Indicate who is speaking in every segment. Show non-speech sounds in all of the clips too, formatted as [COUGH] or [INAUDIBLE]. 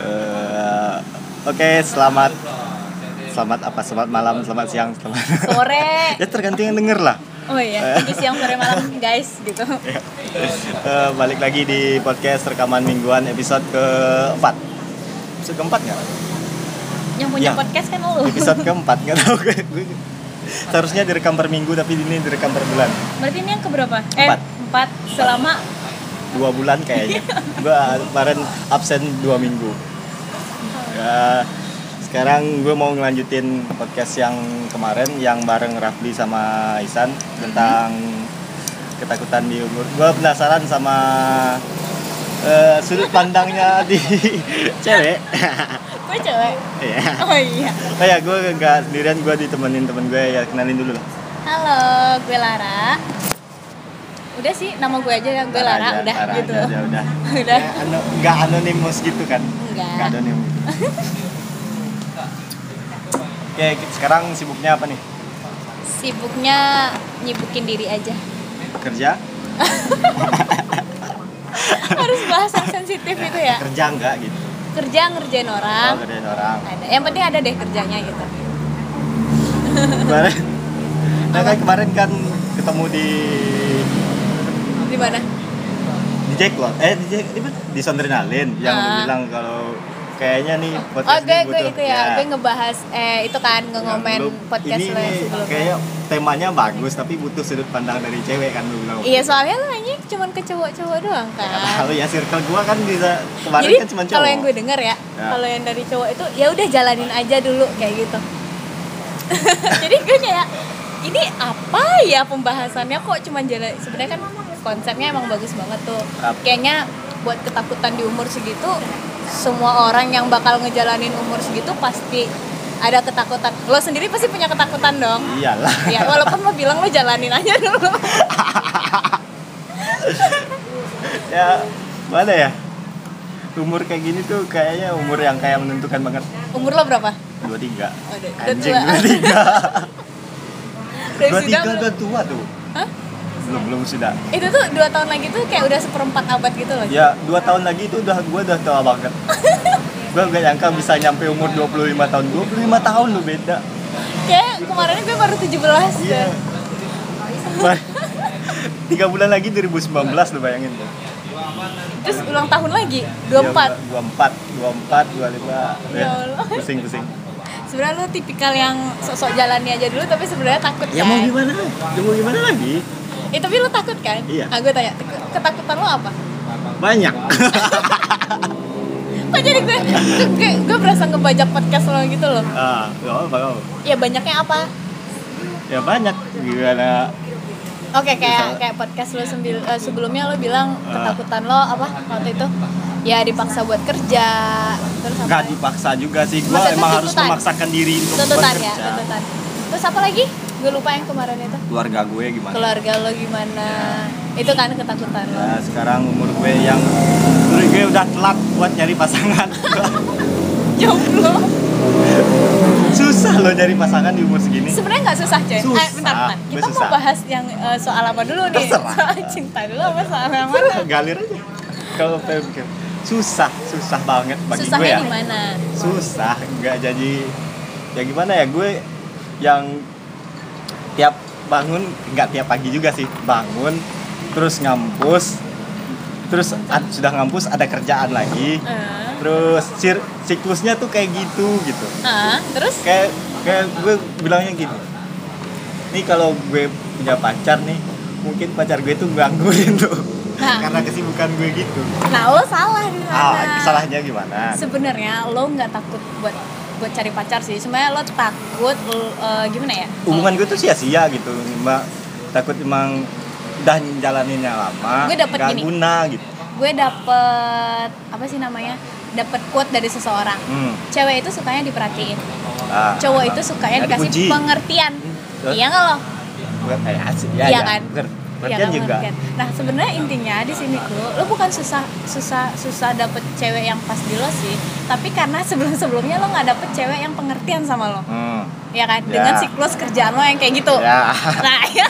Speaker 1: Eh, Oke, selamat selamat apa selamat malam, selamat siang, selamat [LAUGHS]
Speaker 2: Sore.
Speaker 1: ya tergantung yang denger lah.
Speaker 2: Oh iya, pagi siang sore malam guys gitu.
Speaker 1: Iya. Eh, balik lagi di podcast rekaman mingguan episode keempat. Episode keempat nggak?
Speaker 2: Yang punya
Speaker 1: Ya.
Speaker 2: podcast kan lu.
Speaker 1: Episode keempat nggak tahu [LAUGHS] gue. Gue- Seharusnya direkam per minggu tapi ini direkam per bulan.
Speaker 2: Berarti ini yang keberapa? Eh,
Speaker 1: Empat.
Speaker 2: empat selama
Speaker 1: Dua bulan
Speaker 2: [LAUGHS]
Speaker 1: kayaknya.
Speaker 2: Iya.
Speaker 1: gue kemarin absen dua minggu. Ya, sekarang gue mau ngelanjutin podcast yang kemarin yang bareng Rafli sama Isan
Speaker 2: Mhm.
Speaker 1: tentang ketakutan di umur. Gue penasaran sama eh, sudut pandangnya
Speaker 2: [LAUGHS]
Speaker 1: di cewek.
Speaker 2: gue cewek.
Speaker 1: Iya.
Speaker 2: Oh iya.
Speaker 1: Oh ya, gue nggak sendirian, gue ditemenin temen gue ya kenalin dulu lah.
Speaker 2: Halo, gue Lara. Udah sih, nama gue aja ya, gue Lara,
Speaker 1: aja,
Speaker 2: udah
Speaker 1: Lara
Speaker 2: gitu.
Speaker 1: aja, udah, udah.
Speaker 2: [LAUGHS] Udah. Iya.
Speaker 1: Ya, ano, nggak anonimus gitu kan? Nggak
Speaker 2: Enggak.
Speaker 1: anonim. Oke, kita- sekarang sibuknya apa nih?
Speaker 2: Sibuknya nyibukin diri
Speaker 1: [LAUGHS]
Speaker 2: aja.
Speaker 1: Kerja?
Speaker 2: Harus bahas yang sensitif itu ya.
Speaker 1: Kerja enggak gitu?
Speaker 2: Kerja ngerjain
Speaker 1: Oh,
Speaker 2: orang.
Speaker 1: kerjain orang.
Speaker 2: Ada. Yang penting ada deh kerjanya gitu.
Speaker 1: Kemarin, nah kan kemarin kan ketemu di
Speaker 2: Di mana?
Speaker 1: di Jacklot, eh di Jack, di, mana? di Sondrenalin yang lu
Speaker 2: Ah.
Speaker 1: bilang kalau kayaknya nih
Speaker 2: Oh
Speaker 1: podcast
Speaker 2: gue
Speaker 1: gue
Speaker 2: gue
Speaker 1: butuh-
Speaker 2: itu ya, gue ngebahas eh itu kan nge
Speaker 1: Yang
Speaker 2: ngomen
Speaker 1: lu-
Speaker 2: podcast
Speaker 1: ini
Speaker 2: lo yang
Speaker 1: nih,
Speaker 2: sebelumnya.
Speaker 1: kayaknya temanya bagus tapi butuh sudut pandang dari cewek kan lu bilang
Speaker 2: Iya soalnya lo nanya cuma ke cowok-cowok doang kan.
Speaker 1: kalau ya circle gua kan bisa kemarin
Speaker 2: Jadi
Speaker 1: kan cuma cowok
Speaker 2: kalau yang gue denger ya,
Speaker 1: Ya.
Speaker 2: kalau yang dari cowok itu ya udah jalanin aja dulu kayak gitu. [LAUGHS] Jadi gue kayak ini apa ya pembahasannya kok cuma jalan sebenarnya kan konsepnya emang bagus banget tuh.
Speaker 1: Ap-
Speaker 2: Kayaknya buat ketakutan di umur segitu semua orang yang bakal ngejalanin umur segitu pasti ada ketakutan. Lo sendiri pasti punya ketakutan dong.
Speaker 1: [LAUGHS] iyalah
Speaker 2: Ya, walaupun lo bilang lo jalanin aja dulu. [LAUGHS]
Speaker 1: ya mana ya umur kayak gini tuh kayaknya umur yang kayak menentukan banget
Speaker 2: Umur lo berapa?
Speaker 1: dua tiga
Speaker 2: Oh, udah- udah
Speaker 1: anjing
Speaker 2: tua.
Speaker 1: dua tiga
Speaker 2: [LAUGHS] Dari
Speaker 1: dua tiga
Speaker 2: sidang-
Speaker 1: udah tua tuh
Speaker 2: Hah?
Speaker 1: belum belum sudah
Speaker 2: Itu tuh dua tahun lagi tuh kayak udah seperempat abad gitu loh.
Speaker 1: ya dua tahun lagi itu udah gua udah tua
Speaker 2: [LAUGHS]
Speaker 1: banget gua gak nyangka bisa nyampe umur 25 tahun 25 tahun lu beda
Speaker 2: Kayak kemarin gue baru 17
Speaker 1: Iya.
Speaker 2: deh.
Speaker 1: Ba- Tiga bulan lagi 2019 lu bayangin tuh.
Speaker 2: Terus ulang tahun lagi,
Speaker 1: Iya,
Speaker 2: 24.
Speaker 1: Dua empat, dua empat, dua lima.
Speaker 2: Ya Allah.
Speaker 1: Pusing pusing.
Speaker 2: Sebenarnya lu tipikal yang sok-sok jalani aja dulu tapi sebenarnya takut kan.
Speaker 1: Ya, gimana? Ya mau gimana lagi?
Speaker 2: Eh, tapi lu takut kan?
Speaker 1: Iya.
Speaker 2: Ah, gue tanya, "Ke- ketakutan lu apa?
Speaker 1: Banyak. [LAUGHS]
Speaker 2: Kok jadi gue, [LAUGHS] gue, gue berasa ngebajak podcast lo gitu loh.
Speaker 1: ah, gak apa apa.
Speaker 2: Ya banyaknya apa?
Speaker 1: Ya banyak. Gimana?
Speaker 2: Oke kayak kayak podcast lo sembil- eh, sebelumnya lo bilang
Speaker 1: Ah.
Speaker 2: ketakutan lo apa waktu itu? Ya dipaksa buat kerja terus apa?
Speaker 1: Gak dipaksa juga sih. Gua
Speaker 2: Maksudnya
Speaker 1: emang harus
Speaker 2: tuntutan.
Speaker 1: memaksakan diri untuk
Speaker 2: tuntutan ya,
Speaker 1: bekerja.
Speaker 2: tuntutan. Terus apa lagi? Gue lupa yang kemarin itu.
Speaker 1: Keluarga gue gimana?
Speaker 2: Keluarga lo gimana?
Speaker 1: Iya.
Speaker 2: Itu kan ketakutan lo.
Speaker 1: Nah, sekarang umur gue yang umur gue udah telat buat nyari pasangan. [LAUGHS]
Speaker 2: Jomblo.
Speaker 1: Susah loh nyari pasangan di umur segini.
Speaker 2: Sebenarnya nggak susah coy.
Speaker 1: Susah.
Speaker 2: Eh, bentar, bentar.
Speaker 1: Gue
Speaker 2: Kita
Speaker 1: susah.
Speaker 2: mau bahas yang eh, soal apa dulu nih?
Speaker 1: Terserah.
Speaker 2: Soal cinta dulu apa soal yang mana?
Speaker 1: galir aja kalau saya pikir susah susah banget bagi gue
Speaker 2: Susahnya
Speaker 1: ya
Speaker 2: di mana?
Speaker 1: susah nggak jadi ya gimana ya gue yang tiap bangun nggak tiap pagi juga sih bangun terus ngampus terus ad- sudah ngampus ada kerjaan lagi
Speaker 2: Ah.
Speaker 1: terus sir- siklusnya tuh kayak gitu gitu
Speaker 2: Ah, terus
Speaker 1: kayak kayak gue bilangnya gini nih kalau gue punya pacar nih mungkin pacar gue tuh [LAUGHS] gangguin tuh
Speaker 2: Nah.
Speaker 1: karena kesibukan gue gitu
Speaker 2: nah lo salah di sana.
Speaker 1: ah salahnya gimana
Speaker 2: sebenarnya lo nggak takut buat buat cari pacar sih sebenarnya lo takut lo, eh, gimana ya
Speaker 1: hubungan gue tuh sia-sia gitu mbak takut emang udah jalaninnya lama
Speaker 2: Gue dapet
Speaker 1: nggak
Speaker 2: gini.
Speaker 1: guna gitu
Speaker 2: gue dapet apa sih namanya dapet quote dari seseorang
Speaker 1: hmm.
Speaker 2: cewek itu sukanya diperhatiin
Speaker 1: ah,
Speaker 2: cowok
Speaker 1: apa.
Speaker 2: itu sukanya
Speaker 1: Nggak
Speaker 2: dikasih
Speaker 1: dipuji.
Speaker 2: pengertian
Speaker 1: Terus?
Speaker 2: iya nggak lo
Speaker 1: Gue kayak asik ya, ya.
Speaker 2: Iya kan?
Speaker 1: Ber-
Speaker 2: Iya
Speaker 1: berarti
Speaker 2: kan,
Speaker 1: juga
Speaker 2: pengertian. nah sebenarnya intinya di sini tuh lo bukan susah susah susah dapet cewek yang pas di lo sih tapi karena sebelum sebelumnya lo nggak dapet cewek yang pengertian sama lo
Speaker 1: hmm.
Speaker 2: ya kan
Speaker 1: Ya.
Speaker 2: dengan siklus kerjaan lo yang kayak gitu
Speaker 1: ya [LAUGHS]
Speaker 2: nah ya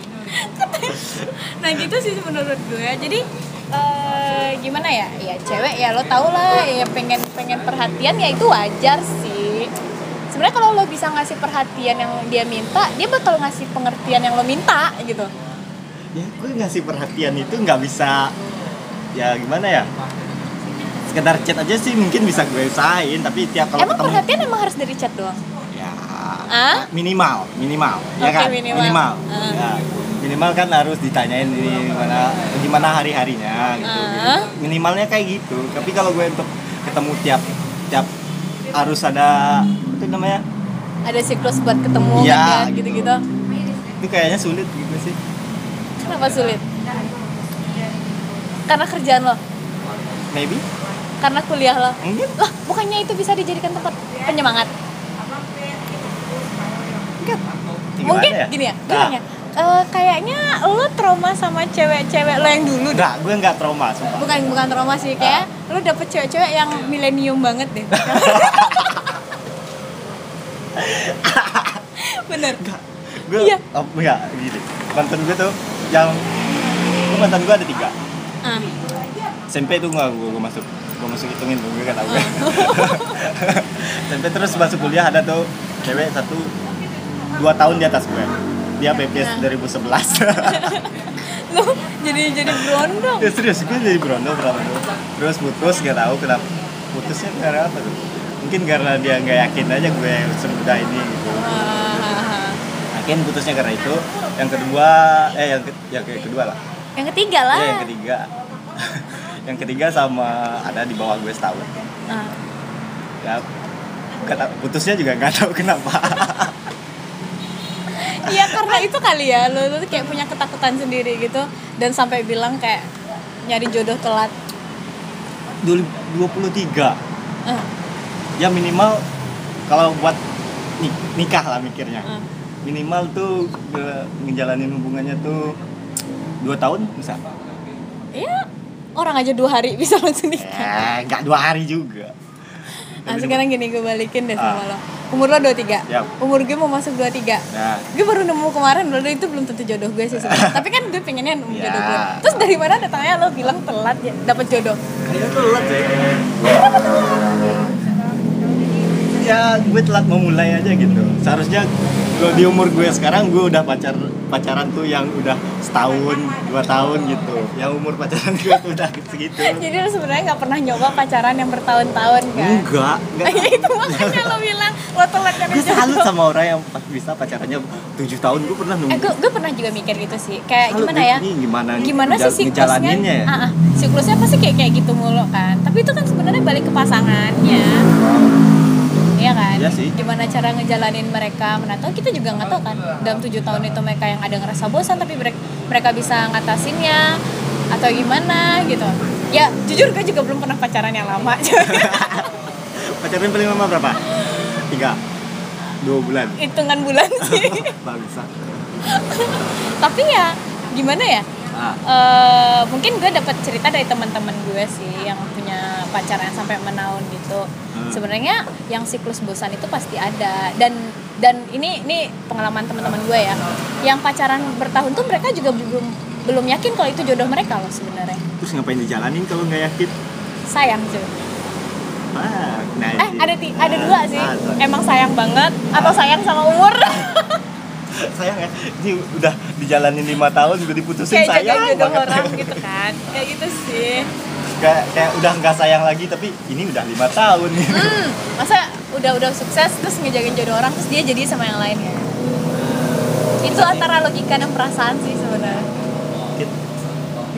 Speaker 2: [LAUGHS] nah gitu sih menurut gue jadi eh, gimana ya ya cewek ya lo tau lah ya pengen pengen perhatian ya itu wajar sih sebenarnya kalau lo bisa ngasih perhatian yang dia minta dia bakal ngasih pengertian yang lo minta gitu
Speaker 1: ya gue ngasih perhatian itu nggak bisa ya gimana ya sekedar chat aja sih mungkin bisa gue usahain tapi tiap kalau
Speaker 2: emang
Speaker 1: ketemu
Speaker 2: perhatian emang harus dari chat doang
Speaker 1: ya
Speaker 2: Hah?
Speaker 1: minimal minimal ya
Speaker 2: Oke,
Speaker 1: kan
Speaker 2: minimal. Ah.
Speaker 1: Ya, minimal kan harus ditanyain ini gimana gimana hari harinya gitu
Speaker 2: Ah.
Speaker 1: minimalnya kayak gitu tapi kalau gue untuk ketemu tiap tiap harus ada itu namanya
Speaker 2: ada siklus buat ketemu
Speaker 1: Iya,
Speaker 2: kan,
Speaker 1: gitu.
Speaker 2: gitu-gitu
Speaker 1: itu kayaknya sulit gitu sih
Speaker 2: kenapa sulit karena kerjaan lo
Speaker 1: maybe
Speaker 2: karena kuliah lo
Speaker 1: mungkin Ya
Speaker 2: lah bukannya itu bisa dijadikan tempat penyemangat
Speaker 1: Gimana
Speaker 2: mungkin
Speaker 1: ya?
Speaker 2: gini ya
Speaker 1: Nah.
Speaker 2: gimana ya? Eh, kayaknya lo trauma sama cewek-cewek lo yang dulu deh
Speaker 1: enggak gue enggak trauma sumpah
Speaker 2: bukan bukan trauma sih
Speaker 1: Nah.
Speaker 2: kayak lo dapet cewek-cewek yang
Speaker 1: Iya.
Speaker 2: milenium banget
Speaker 1: [LAUGHS]
Speaker 2: deh bener
Speaker 1: gue
Speaker 2: Iya.
Speaker 1: oh, enggak gini mantan gue tuh yang itu mantan gue ada tiga
Speaker 2: Ah,
Speaker 1: SMP tuh nggak gue, gue masuk gue masuk hitungin tuh, gue kan kata
Speaker 2: [LAUGHS]
Speaker 1: gue SMP terus masuk kuliah ada tuh cewek satu dua tahun di atas gue dia BPS
Speaker 2: Nah. [LAUGHS]
Speaker 1: 2011
Speaker 2: lo jadi jadi berondong
Speaker 1: ya serius gue jadi Brondo berapa tuh terus putus nggak tahu kenapa putusnya karena apa tuh mungkin karena dia nggak yakin aja gue semudah ini gitu
Speaker 2: Ah,
Speaker 1: yakin putusnya karena itu yang kedua eh yang ke- yang ke- kedua lah
Speaker 2: yang ketiga lah
Speaker 1: Iya, yang ketiga. [LAUGHS] yang ketiga sama ada di bawah gue setahun.
Speaker 2: Ah.
Speaker 1: Ya, kata putusnya juga nggak tahu kenapa. [LAUGHS]
Speaker 2: Iya karena itu kali ya lo tuh kayak punya ketakutan sendiri gitu dan sampai bilang kayak nyari jodoh telat.
Speaker 1: Dulu 23.
Speaker 2: Eh,
Speaker 1: Ya minimal kalau buat ni- nikah lah mikirnya.
Speaker 2: eh.
Speaker 1: Minimal tuh gue ngejalanin hubungannya tuh dua tahun bisa.
Speaker 2: Ya orang aja dua hari bisa [LAUGHS] langsung nikah.
Speaker 1: Eh, nggak dua hari juga.
Speaker 2: Nah,
Speaker 1: Tapi
Speaker 2: sekarang gini gue balikin deh sama
Speaker 1: Ah.
Speaker 2: lo. Umur lo 23.
Speaker 1: Yap.
Speaker 2: Umur gue mau masuk 23.
Speaker 1: Nah,
Speaker 2: Gue baru nemu kemarin lo itu belum tentu jodoh gue sih
Speaker 1: [LAUGHS]
Speaker 2: sebenarnya. Tapi kan gue pengennya nemu
Speaker 1: Ya.
Speaker 2: jodoh gue. Terus dari mana datangnya lo bilang telat ya, dapat jodoh?
Speaker 1: kayaknya telat ya. Ya, gue telat memulai aja gitu. Seharusnya kalau di umur gue sekarang gue udah pacar pacaran tuh yang udah setahun, dua tahun gitu. Yang umur pacaran gue tuh udah segitu.
Speaker 2: Jadi lo sebenarnya nggak pernah nyoba pacaran yang bertahun-tahun kan? [LAUGHS]
Speaker 1: Enggak, enggak.
Speaker 2: Ya itu makanya lo bilang lo telat nyari
Speaker 1: Gue
Speaker 2: jodoh.
Speaker 1: salut sama orang yang pas bisa pacarannya 7 tahun. Gue pernah nunggu.
Speaker 2: Eh, gue, gue pernah juga mikir gitu sih. Kayak
Speaker 1: Salut,
Speaker 2: gimana
Speaker 1: nih,
Speaker 2: ya?
Speaker 1: Ini gimana,
Speaker 2: Gimana
Speaker 1: Nah, ngejal-
Speaker 2: sih siklusnya?
Speaker 1: ngejalaninnya ya?
Speaker 2: Ah, ah. siklusnya pasti kayak kayak gitu mulu kan. Tapi itu kan sebenarnya balik ke pasangannya. Iya kan?
Speaker 1: Iya sih.
Speaker 2: Gimana cara ngejalanin mereka? Mana tahu kita juga nggak tahu kan. Dalam tujuh tahun itu mereka yang ada ngerasa bosan tapi mereka, mereka bisa ngatasinnya atau gimana gitu. Ya, jujur gue juga belum pernah pacaran yang lama. [LAUGHS] Ah.
Speaker 1: Pacaran paling lama berapa? Tiga, dua
Speaker 2: [LAUGHS]
Speaker 1: bulan.
Speaker 2: Hitungan bulan
Speaker 1: [LAUGHS]
Speaker 2: sih.
Speaker 1: Bangsa.
Speaker 2: tapi ya gimana ya?
Speaker 1: Ah.
Speaker 2: Eh, mungkin gue dapat cerita dari teman-teman gue sih yang punya pacaran sampai menahun gitu.
Speaker 1: Hmm.
Speaker 2: Sebenarnya yang siklus bosan itu pasti ada dan dan ini ini pengalaman teman-teman gue ya. Yang pacaran bertahun tuh mereka juga belum belum yakin kalau itu jodoh mereka loh sebenarnya.
Speaker 1: Terus ngapain dijalanin kalau nggak yakin?
Speaker 2: Sayang sih.
Speaker 1: Ah, nah,
Speaker 2: Eh
Speaker 1: sih.
Speaker 2: ada ti- ada dua sih.
Speaker 1: Ah, sorry.
Speaker 2: Emang sayang banget atau sayang sama umur?
Speaker 1: sayang ya. Ini udah dijalanin lima tahun juga diputusin
Speaker 2: [LAUGHS] Kayak
Speaker 1: sayang
Speaker 2: jaga jodoh
Speaker 1: banget.
Speaker 2: orang gitu kan. Kayak gitu sih.
Speaker 1: [LAUGHS] kayak, kayak udah nggak sayang lagi tapi ini udah lima tahun nih.
Speaker 2: Hmm, masa udah udah sukses terus ngejagain jodoh orang terus dia jadi sama yang lain ya? Itu antara logika dan perasaan sih sebenarnya.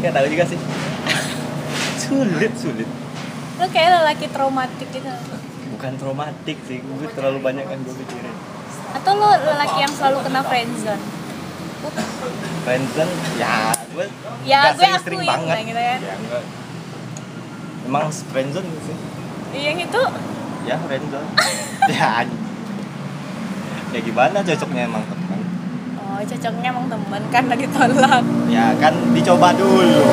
Speaker 1: Nggak tahu juga
Speaker 2: [LAUGHS]
Speaker 1: sih. sulit sulit.
Speaker 2: Lo kayak lelaki traumatik gitu.
Speaker 1: Bukan traumatik sih, gue terlalu banyak yang gue pikirin.
Speaker 2: Atau lo lelaki yang selalu kena friendzone.
Speaker 1: Friendzone, ya gue
Speaker 2: Ya,
Speaker 1: nggak
Speaker 2: gue
Speaker 1: sering-sering
Speaker 2: akuin
Speaker 1: banget.
Speaker 2: lah gitu ya.
Speaker 1: Ya, nggak. Emang friendzone nggak sih?
Speaker 2: Iya, Yang itu
Speaker 1: Ya
Speaker 2: [LAUGHS]
Speaker 1: friendzone. ya, ya gimana cocoknya emang teman?
Speaker 2: oh cocoknya emang temen kan lagi tolak.
Speaker 1: Ya kan dicoba dulu.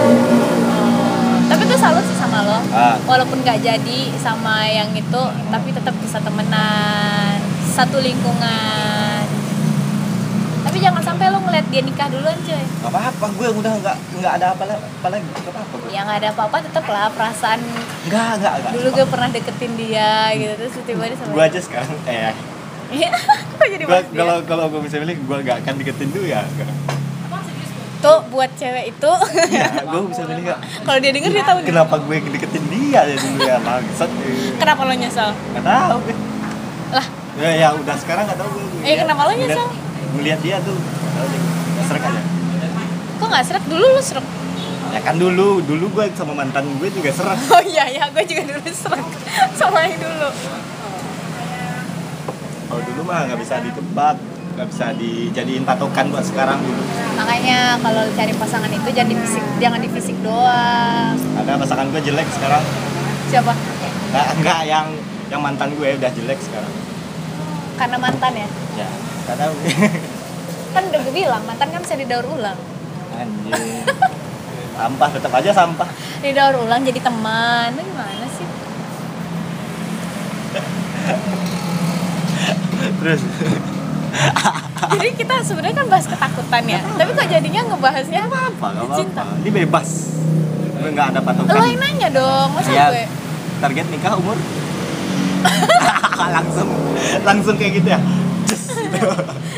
Speaker 2: Tapi tuh salut sih sama lo.
Speaker 1: Ah.
Speaker 2: Walaupun gak jadi sama yang itu, tapi tetap bisa temenan, satu lingkungan. tapi jangan sampai lo ngeliat dia nikah duluan cuy
Speaker 1: Gak apa-apa, gue udah nggak nggak ada apa, apa lagi, gak apa-apa gue.
Speaker 2: ya nggak ada apa-apa tetep lah perasaan
Speaker 1: Nggak, nggak, nggak.
Speaker 2: dulu gue pernah deketin dia gitu terus tiba-tiba dia sama
Speaker 1: Gue aja sekarang, eh,
Speaker 2: Iya, [LAUGHS] kok jadi ya?
Speaker 1: gue
Speaker 2: bahas dia?
Speaker 1: kalau kalau gue bisa milih, gue gak akan deketin dulu ya sekarang.
Speaker 2: [LAUGHS] tuh buat cewek itu
Speaker 1: Iya, gue bisa milih gak.
Speaker 2: kalau dia denger dia tahu nih.
Speaker 1: Kenapa gue deketin dia ya dulu ya, bangsat.
Speaker 2: [LAUGHS]
Speaker 1: eh.
Speaker 2: kenapa lo nyesel
Speaker 1: Gak tau gue.
Speaker 2: lah
Speaker 1: Ya, ya udah sekarang gak tau gue.
Speaker 2: Eh, kenapa lo nyesel?
Speaker 1: Melihat dia tuh, nggak tahu deh, serek aja.
Speaker 2: kok nggak serak dulu lo serak [LAUGHS]
Speaker 1: Ya kan dulu, dulu gue sama mantan gue juga serak.
Speaker 2: oh iya ya gue juga dulu serak [LAUGHS] sama yang dulu
Speaker 1: Kalau dulu mah nggak bisa ditebak, nggak bisa dijadiin patokan buat sekarang dulu.
Speaker 2: makanya kalau lo cari pasangan itu jangan di fisik jangan di fisik doang
Speaker 1: Ada pasangan gue jelek sekarang.
Speaker 2: siapa
Speaker 1: Nggak, nggak yang yang mantan gue udah jelek sekarang.
Speaker 2: karena mantan ya
Speaker 1: Ya, karena
Speaker 2: kan udah gue bilang mantan kan bisa didaur ulang
Speaker 1: [LAUGHS] anjing. Sampah tetap aja sampah.
Speaker 2: didaur ulang jadi teman Lu gimana sih
Speaker 1: Terus
Speaker 2: jadi kita sebenarnya kan bahas ketakutan ya tapi kok jadinya ngebahasnya
Speaker 1: apa? Gak
Speaker 2: Cinta.
Speaker 1: apa-apa. Ini bebas. Gue nggak ada patokan.
Speaker 2: lo yang nanya dong masa
Speaker 1: Ya,
Speaker 2: gue
Speaker 1: target nikah umur [LAUGHS] langsung langsung kayak gitu ya Cus, gitu.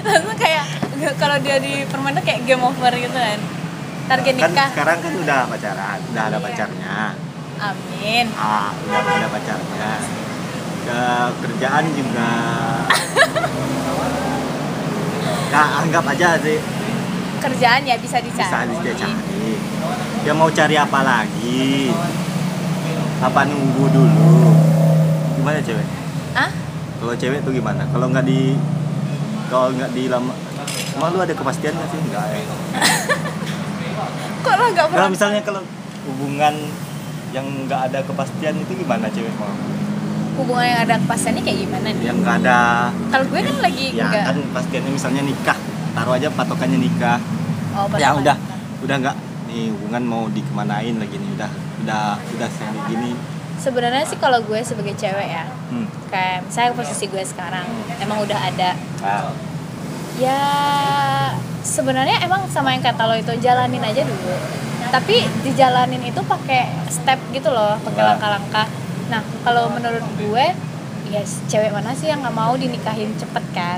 Speaker 2: langsung kayak nggak- kalau dia di permainan kayak game over gitu kan target
Speaker 1: kan
Speaker 2: nikah
Speaker 1: sekarang kan udah pacaran udah ada
Speaker 2: Iya.
Speaker 1: pacarnya
Speaker 2: amin
Speaker 1: ah udah ada pacarnya ke kerjaan
Speaker 2: [LAUGHS]
Speaker 1: juga nah, anggap aja sih
Speaker 2: kerjaan ya bisa dicari
Speaker 1: bisa dia cari dia mau cari apa lagi apa nunggu dulu gimana cewek
Speaker 2: ah
Speaker 1: Kalau cewek tuh gimana? Kalau nggak di kalau nggak di lama Emang lu ada kepastian nggak sih? Nggak ya.
Speaker 2: kok lo nggak
Speaker 1: Kalau
Speaker 2: pernah
Speaker 1: misalnya kalau hubungan yang nggak ada kepastian itu gimana cewek mau?
Speaker 2: hubungan yang ada kepastiannya kayak gimana nih
Speaker 1: Yang nggak ada
Speaker 2: kalau gue kan lagi
Speaker 1: ya
Speaker 2: enggak
Speaker 1: kan kepastiannya misalnya nikah taruh aja patokannya nikah
Speaker 2: oh,
Speaker 1: ya
Speaker 2: pasangan.
Speaker 1: udah udah nggak nih hubungan mau dikemanain lagi nih udah udah udah sering gini
Speaker 2: sebenarnya sih kalau gue sebagai cewek ya
Speaker 1: hmm.
Speaker 2: kayak misalnya posisi gue sekarang emang udah ada
Speaker 1: Nah,
Speaker 2: ya sebenarnya emang sama yang kata lo itu jalanin aja dulu tapi dijalanin itu pakai step gitu loh pakai
Speaker 1: Nah.
Speaker 2: langkah-langkah nah kalau menurut gue ya cewek mana sih yang nggak mau dinikahin cepet kan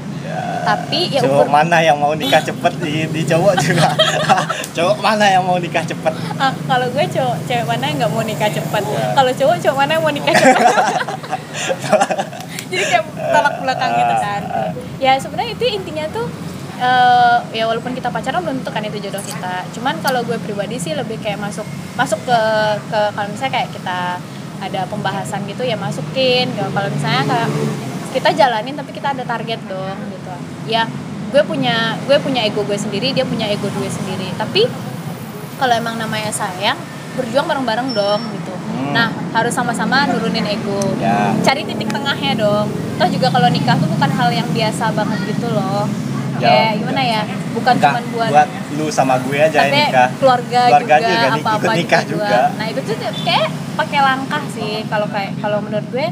Speaker 2: tapi ya
Speaker 1: cowok
Speaker 2: umur
Speaker 1: mana yang mau nikah cepet di, di cowok juga [LAUGHS] cowok mana yang mau nikah cepet
Speaker 2: Ah, kalau gue cowok cewek mana yang nggak mau nikah cepet
Speaker 1: Ya.
Speaker 2: kalau cowok cowok mana yang mau nikah cepet jadi kayak tolak belakang gitu kan ya sebenarnya itu intinya tuh eh, ya walaupun kita pacaran belum tentu kan itu jodoh kita cuman kalau gue pribadi sih lebih kayak masuk masuk ke ke kalau misalnya kayak kita ada pembahasan gitu ya masukin Kalau- kalau misalnya kayak kita jalanin tapi kita ada target dong gitu ya gue punya gue punya ego gue sendiri dia punya ego gue sendiri tapi kalau emang namanya sayang berjuang bareng-bareng dong gitu
Speaker 1: Hmm.
Speaker 2: nah harus sama-sama nurunin ego
Speaker 1: ya
Speaker 2: cari titik tengahnya dong toh juga kalau nikah tuh bukan hal yang biasa banget gitu loh
Speaker 1: Ya,
Speaker 2: kayak gimana ya bukan
Speaker 1: Enggak,
Speaker 2: cuma buat,
Speaker 1: lu sama gue aja yang
Speaker 2: tapi
Speaker 1: Iya, nikah
Speaker 2: keluarga,
Speaker 1: Keluarga
Speaker 2: juga,
Speaker 1: juga nih,
Speaker 2: apa apa
Speaker 1: ikut nikah juga.
Speaker 2: nah itu tuh kayak pakai langkah sih kalau kayak kalau menurut gue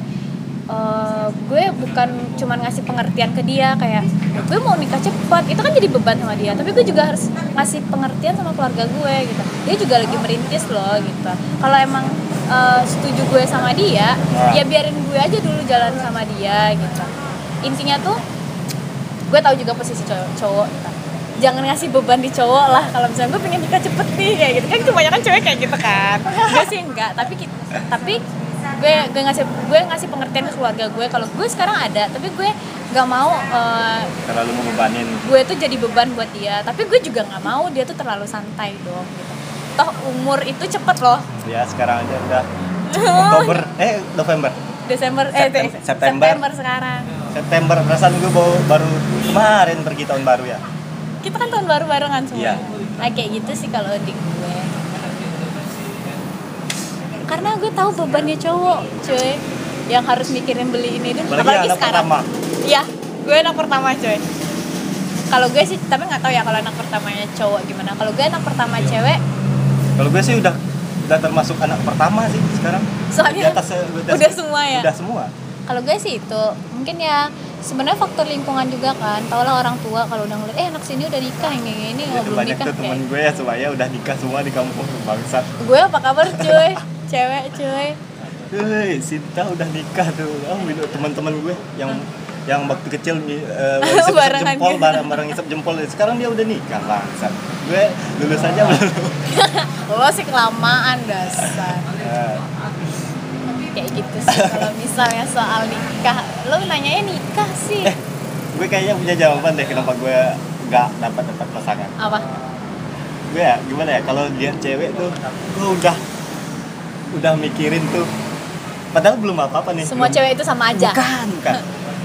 Speaker 2: eh, gue bukan cuman ngasih pengertian ke dia kayak gue mau nikah cepat itu kan jadi beban sama dia tapi gue juga harus ngasih pengertian sama keluarga gue gitu dia juga lagi merintis loh gitu kalau emang eh, setuju gue sama dia
Speaker 1: Nah.
Speaker 2: ya biarin gue aja dulu jalan sama dia gitu intinya tuh gue tahu juga posisi cowok, cowok gitu. jangan ngasih beban di cowok lah kalau misalnya gue pengen nikah cepet nih kayak gitu kan kebanyakan cewek kayak gitu kan gue sih enggak tapi ki- tapi gue gue ngasih gue ngasih pengertian ke keluarga gue kalau gue sekarang ada tapi gue nggak mau eh,
Speaker 1: terlalu membebanin
Speaker 2: gue tuh jadi beban buat dia tapi gue juga nggak mau dia tuh terlalu santai dong gitu toh umur itu cepet loh
Speaker 1: ya sekarang aja
Speaker 2: [LAUGHS]
Speaker 1: udah Oktober eh November
Speaker 2: Desember eh
Speaker 1: Septem-
Speaker 2: September.
Speaker 1: September.
Speaker 2: September sekarang
Speaker 1: September perasaan gue baru, baru kemarin pergi tahun baru ya
Speaker 2: kita kan tahun baru barengan semua
Speaker 1: Iya.
Speaker 2: nah kayak gitu sih kalau di gue karena gue tahu bebannya cowok cuy yang harus mikirin beli ini dan
Speaker 1: apalagi, anak pertama
Speaker 2: iya gue anak pertama cuy kalau gue sih tapi nggak tahu ya kalau anak pertamanya cowok gimana kalau gue anak pertama
Speaker 1: Iya.
Speaker 2: cewek
Speaker 1: kalau gue sih udah udah termasuk anak pertama sih sekarang di
Speaker 2: soalnya
Speaker 1: atas, di atas-
Speaker 2: udah semua ya
Speaker 1: udah semua
Speaker 2: kalau gue sih itu mungkin ya sebenarnya faktor lingkungan juga kan tau lah orang tua kalau udah ngeliat eh anak sini udah nikah yang ini
Speaker 1: Ya,
Speaker 2: nggak belum
Speaker 1: banyak
Speaker 2: nikah
Speaker 1: tuh temen
Speaker 2: kayak gitu.
Speaker 1: gue ya semuanya udah nikah semua di kampung bangsat
Speaker 2: gue apa kabar cuy cewek cuy
Speaker 1: Hei, Sinta udah nikah tuh. Oh, gitu. teman-teman gue yang yang waktu kecil eh, isep, -isep
Speaker 2: Barengan
Speaker 1: jempol,
Speaker 2: gitu.
Speaker 1: bareng bareng isep jempol. Sekarang dia udah nikah bangsat. Gue lulus aja belum.
Speaker 2: lo sih kelamaan dasar
Speaker 1: Eh,
Speaker 2: kayak gitu
Speaker 1: [LAUGHS]
Speaker 2: sih kalau misalnya soal nikah lo nanyanya nikah sih
Speaker 1: Eh, gue kayaknya punya jawaban deh kenapa gue nggak dapat dapat pasangan.
Speaker 2: apa
Speaker 1: Gue ya gimana ya kalau lihat cewek tuh, gue udah udah mikirin tuh. Padahal belum apa-apa nih.
Speaker 2: semua
Speaker 1: belum-
Speaker 2: cewek itu sama aja
Speaker 1: Bukan, bukan.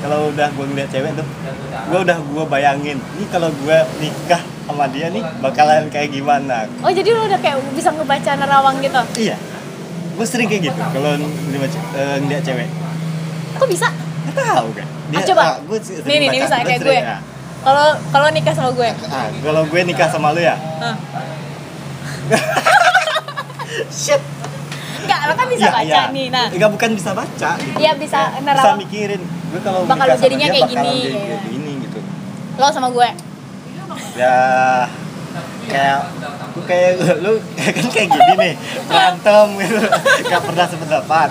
Speaker 1: kalau udah gue ngeliat cewek tuh, gue udah gue bayangin, ini kalau gue nikah sama dia nih bakalan kayak gimana?
Speaker 2: oh jadi lo udah kayak bisa ngebaca nerawang gitu
Speaker 1: Iya, gue sering kayak gitu kalau ngeliat, ce- eh, ngeliat cewek.
Speaker 2: kok bisa
Speaker 1: Gak tau kan?
Speaker 2: Ah, coba.
Speaker 1: gue sering
Speaker 2: Nih, nih, nih,
Speaker 1: baca,
Speaker 2: misalnya kayak
Speaker 1: sering,
Speaker 2: gue.
Speaker 1: ah.
Speaker 2: kalau kalau nikah sama gue
Speaker 1: Ah, kalau gue nikah sama lu ya,
Speaker 2: Hah.
Speaker 1: [LAUGHS] shit.
Speaker 2: Enggak, lo kan bisa
Speaker 1: Iya,
Speaker 2: baca
Speaker 1: iya.
Speaker 2: nih. Nah,
Speaker 1: Enggak, bukan bisa baca. Gitu.
Speaker 2: Iya, bisa
Speaker 1: Bisa
Speaker 2: nerawang.
Speaker 1: mikirin. Gue kalau
Speaker 2: Bakal
Speaker 1: nikah sama
Speaker 2: jadinya
Speaker 1: dia
Speaker 2: kayak
Speaker 1: bakalan
Speaker 2: gini,
Speaker 1: jadi
Speaker 2: ya.
Speaker 1: kayak gini gitu.
Speaker 2: lo sama
Speaker 1: [LAUGHS]
Speaker 2: gue.
Speaker 1: ya kayak gue kayak [LAUGHS] lu kan kayak gini nih berantem gitu gak pernah sependapat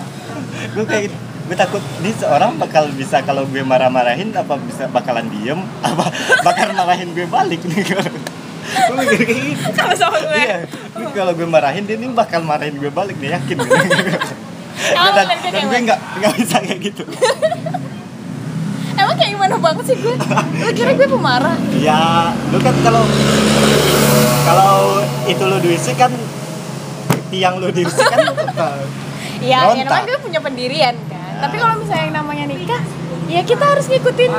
Speaker 1: gue kayak gitu. gue takut nih seorang bakal bisa kalau gue marah-marahin apa bisa bakalan diem apa [LAUGHS] bakal marahin gue balik nih [LAUGHS] gue mikir kayak gitu
Speaker 2: Sama sama gue.
Speaker 1: iya gue kalau gue marahin dia nih bakal marahin gue balik nih yakin [LAUGHS] gue.
Speaker 2: Kamu
Speaker 1: dan,
Speaker 2: bener-bener
Speaker 1: dan gue
Speaker 2: emang.
Speaker 1: nggak nggak bisa kayak gitu
Speaker 2: Emang kayak gimana banget sih
Speaker 1: [LAUGHS]
Speaker 2: gue? Lo kira gue pemarah?
Speaker 1: Ya, lu kan kalau kalau itu lu diusik kan tiang lu diusik kan lu bakal-
Speaker 2: Iya,
Speaker 1: Berontak.
Speaker 2: ya namanya gue punya pendirian kan. Tapi kalau misalnya yang namanya nikah, ya kita harus ngikutin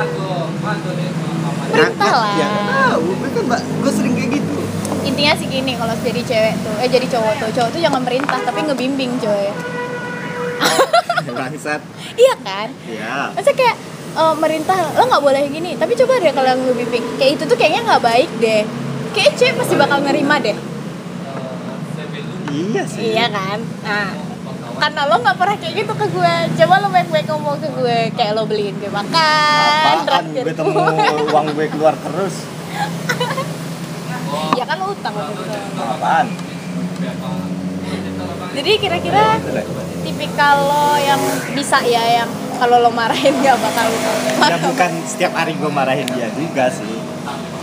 Speaker 2: perintah lah.
Speaker 1: Ya, tahu, gue kan ba- gue sering kayak gitu.
Speaker 2: Intinya sih gini, kalau jadi cewek tuh, eh jadi cowok tuh, cowok tuh jangan perintah tapi ngebimbing coy.
Speaker 1: Bangsat.
Speaker 2: Iya kan?
Speaker 1: Ya.
Speaker 2: Masa kayak eh, merintah lo nggak boleh gini, tapi coba deh kalau yang ngebimbing, kayak itu tuh kayaknya nggak baik deh. Kayak cewek pasti bakal nerima deh.
Speaker 1: Iya sih.
Speaker 2: Iya kan? Nah, karena lo nggak pernah kayak gitu ke gue, coba lo baik-baik ngomong ke gue, kayak lo beliin gue makan,
Speaker 1: Apaan gue
Speaker 2: kan.
Speaker 1: temu uang gue keluar terus.
Speaker 2: ya kan lo utang waktu itu.
Speaker 1: Apaan?
Speaker 2: Jadi kira-kira
Speaker 1: Itu deh.
Speaker 2: tipikal lo yang bisa ya yang kalau lo marahin gak bakal
Speaker 1: Ya bukan setiap hari gue marahin dia juga sih.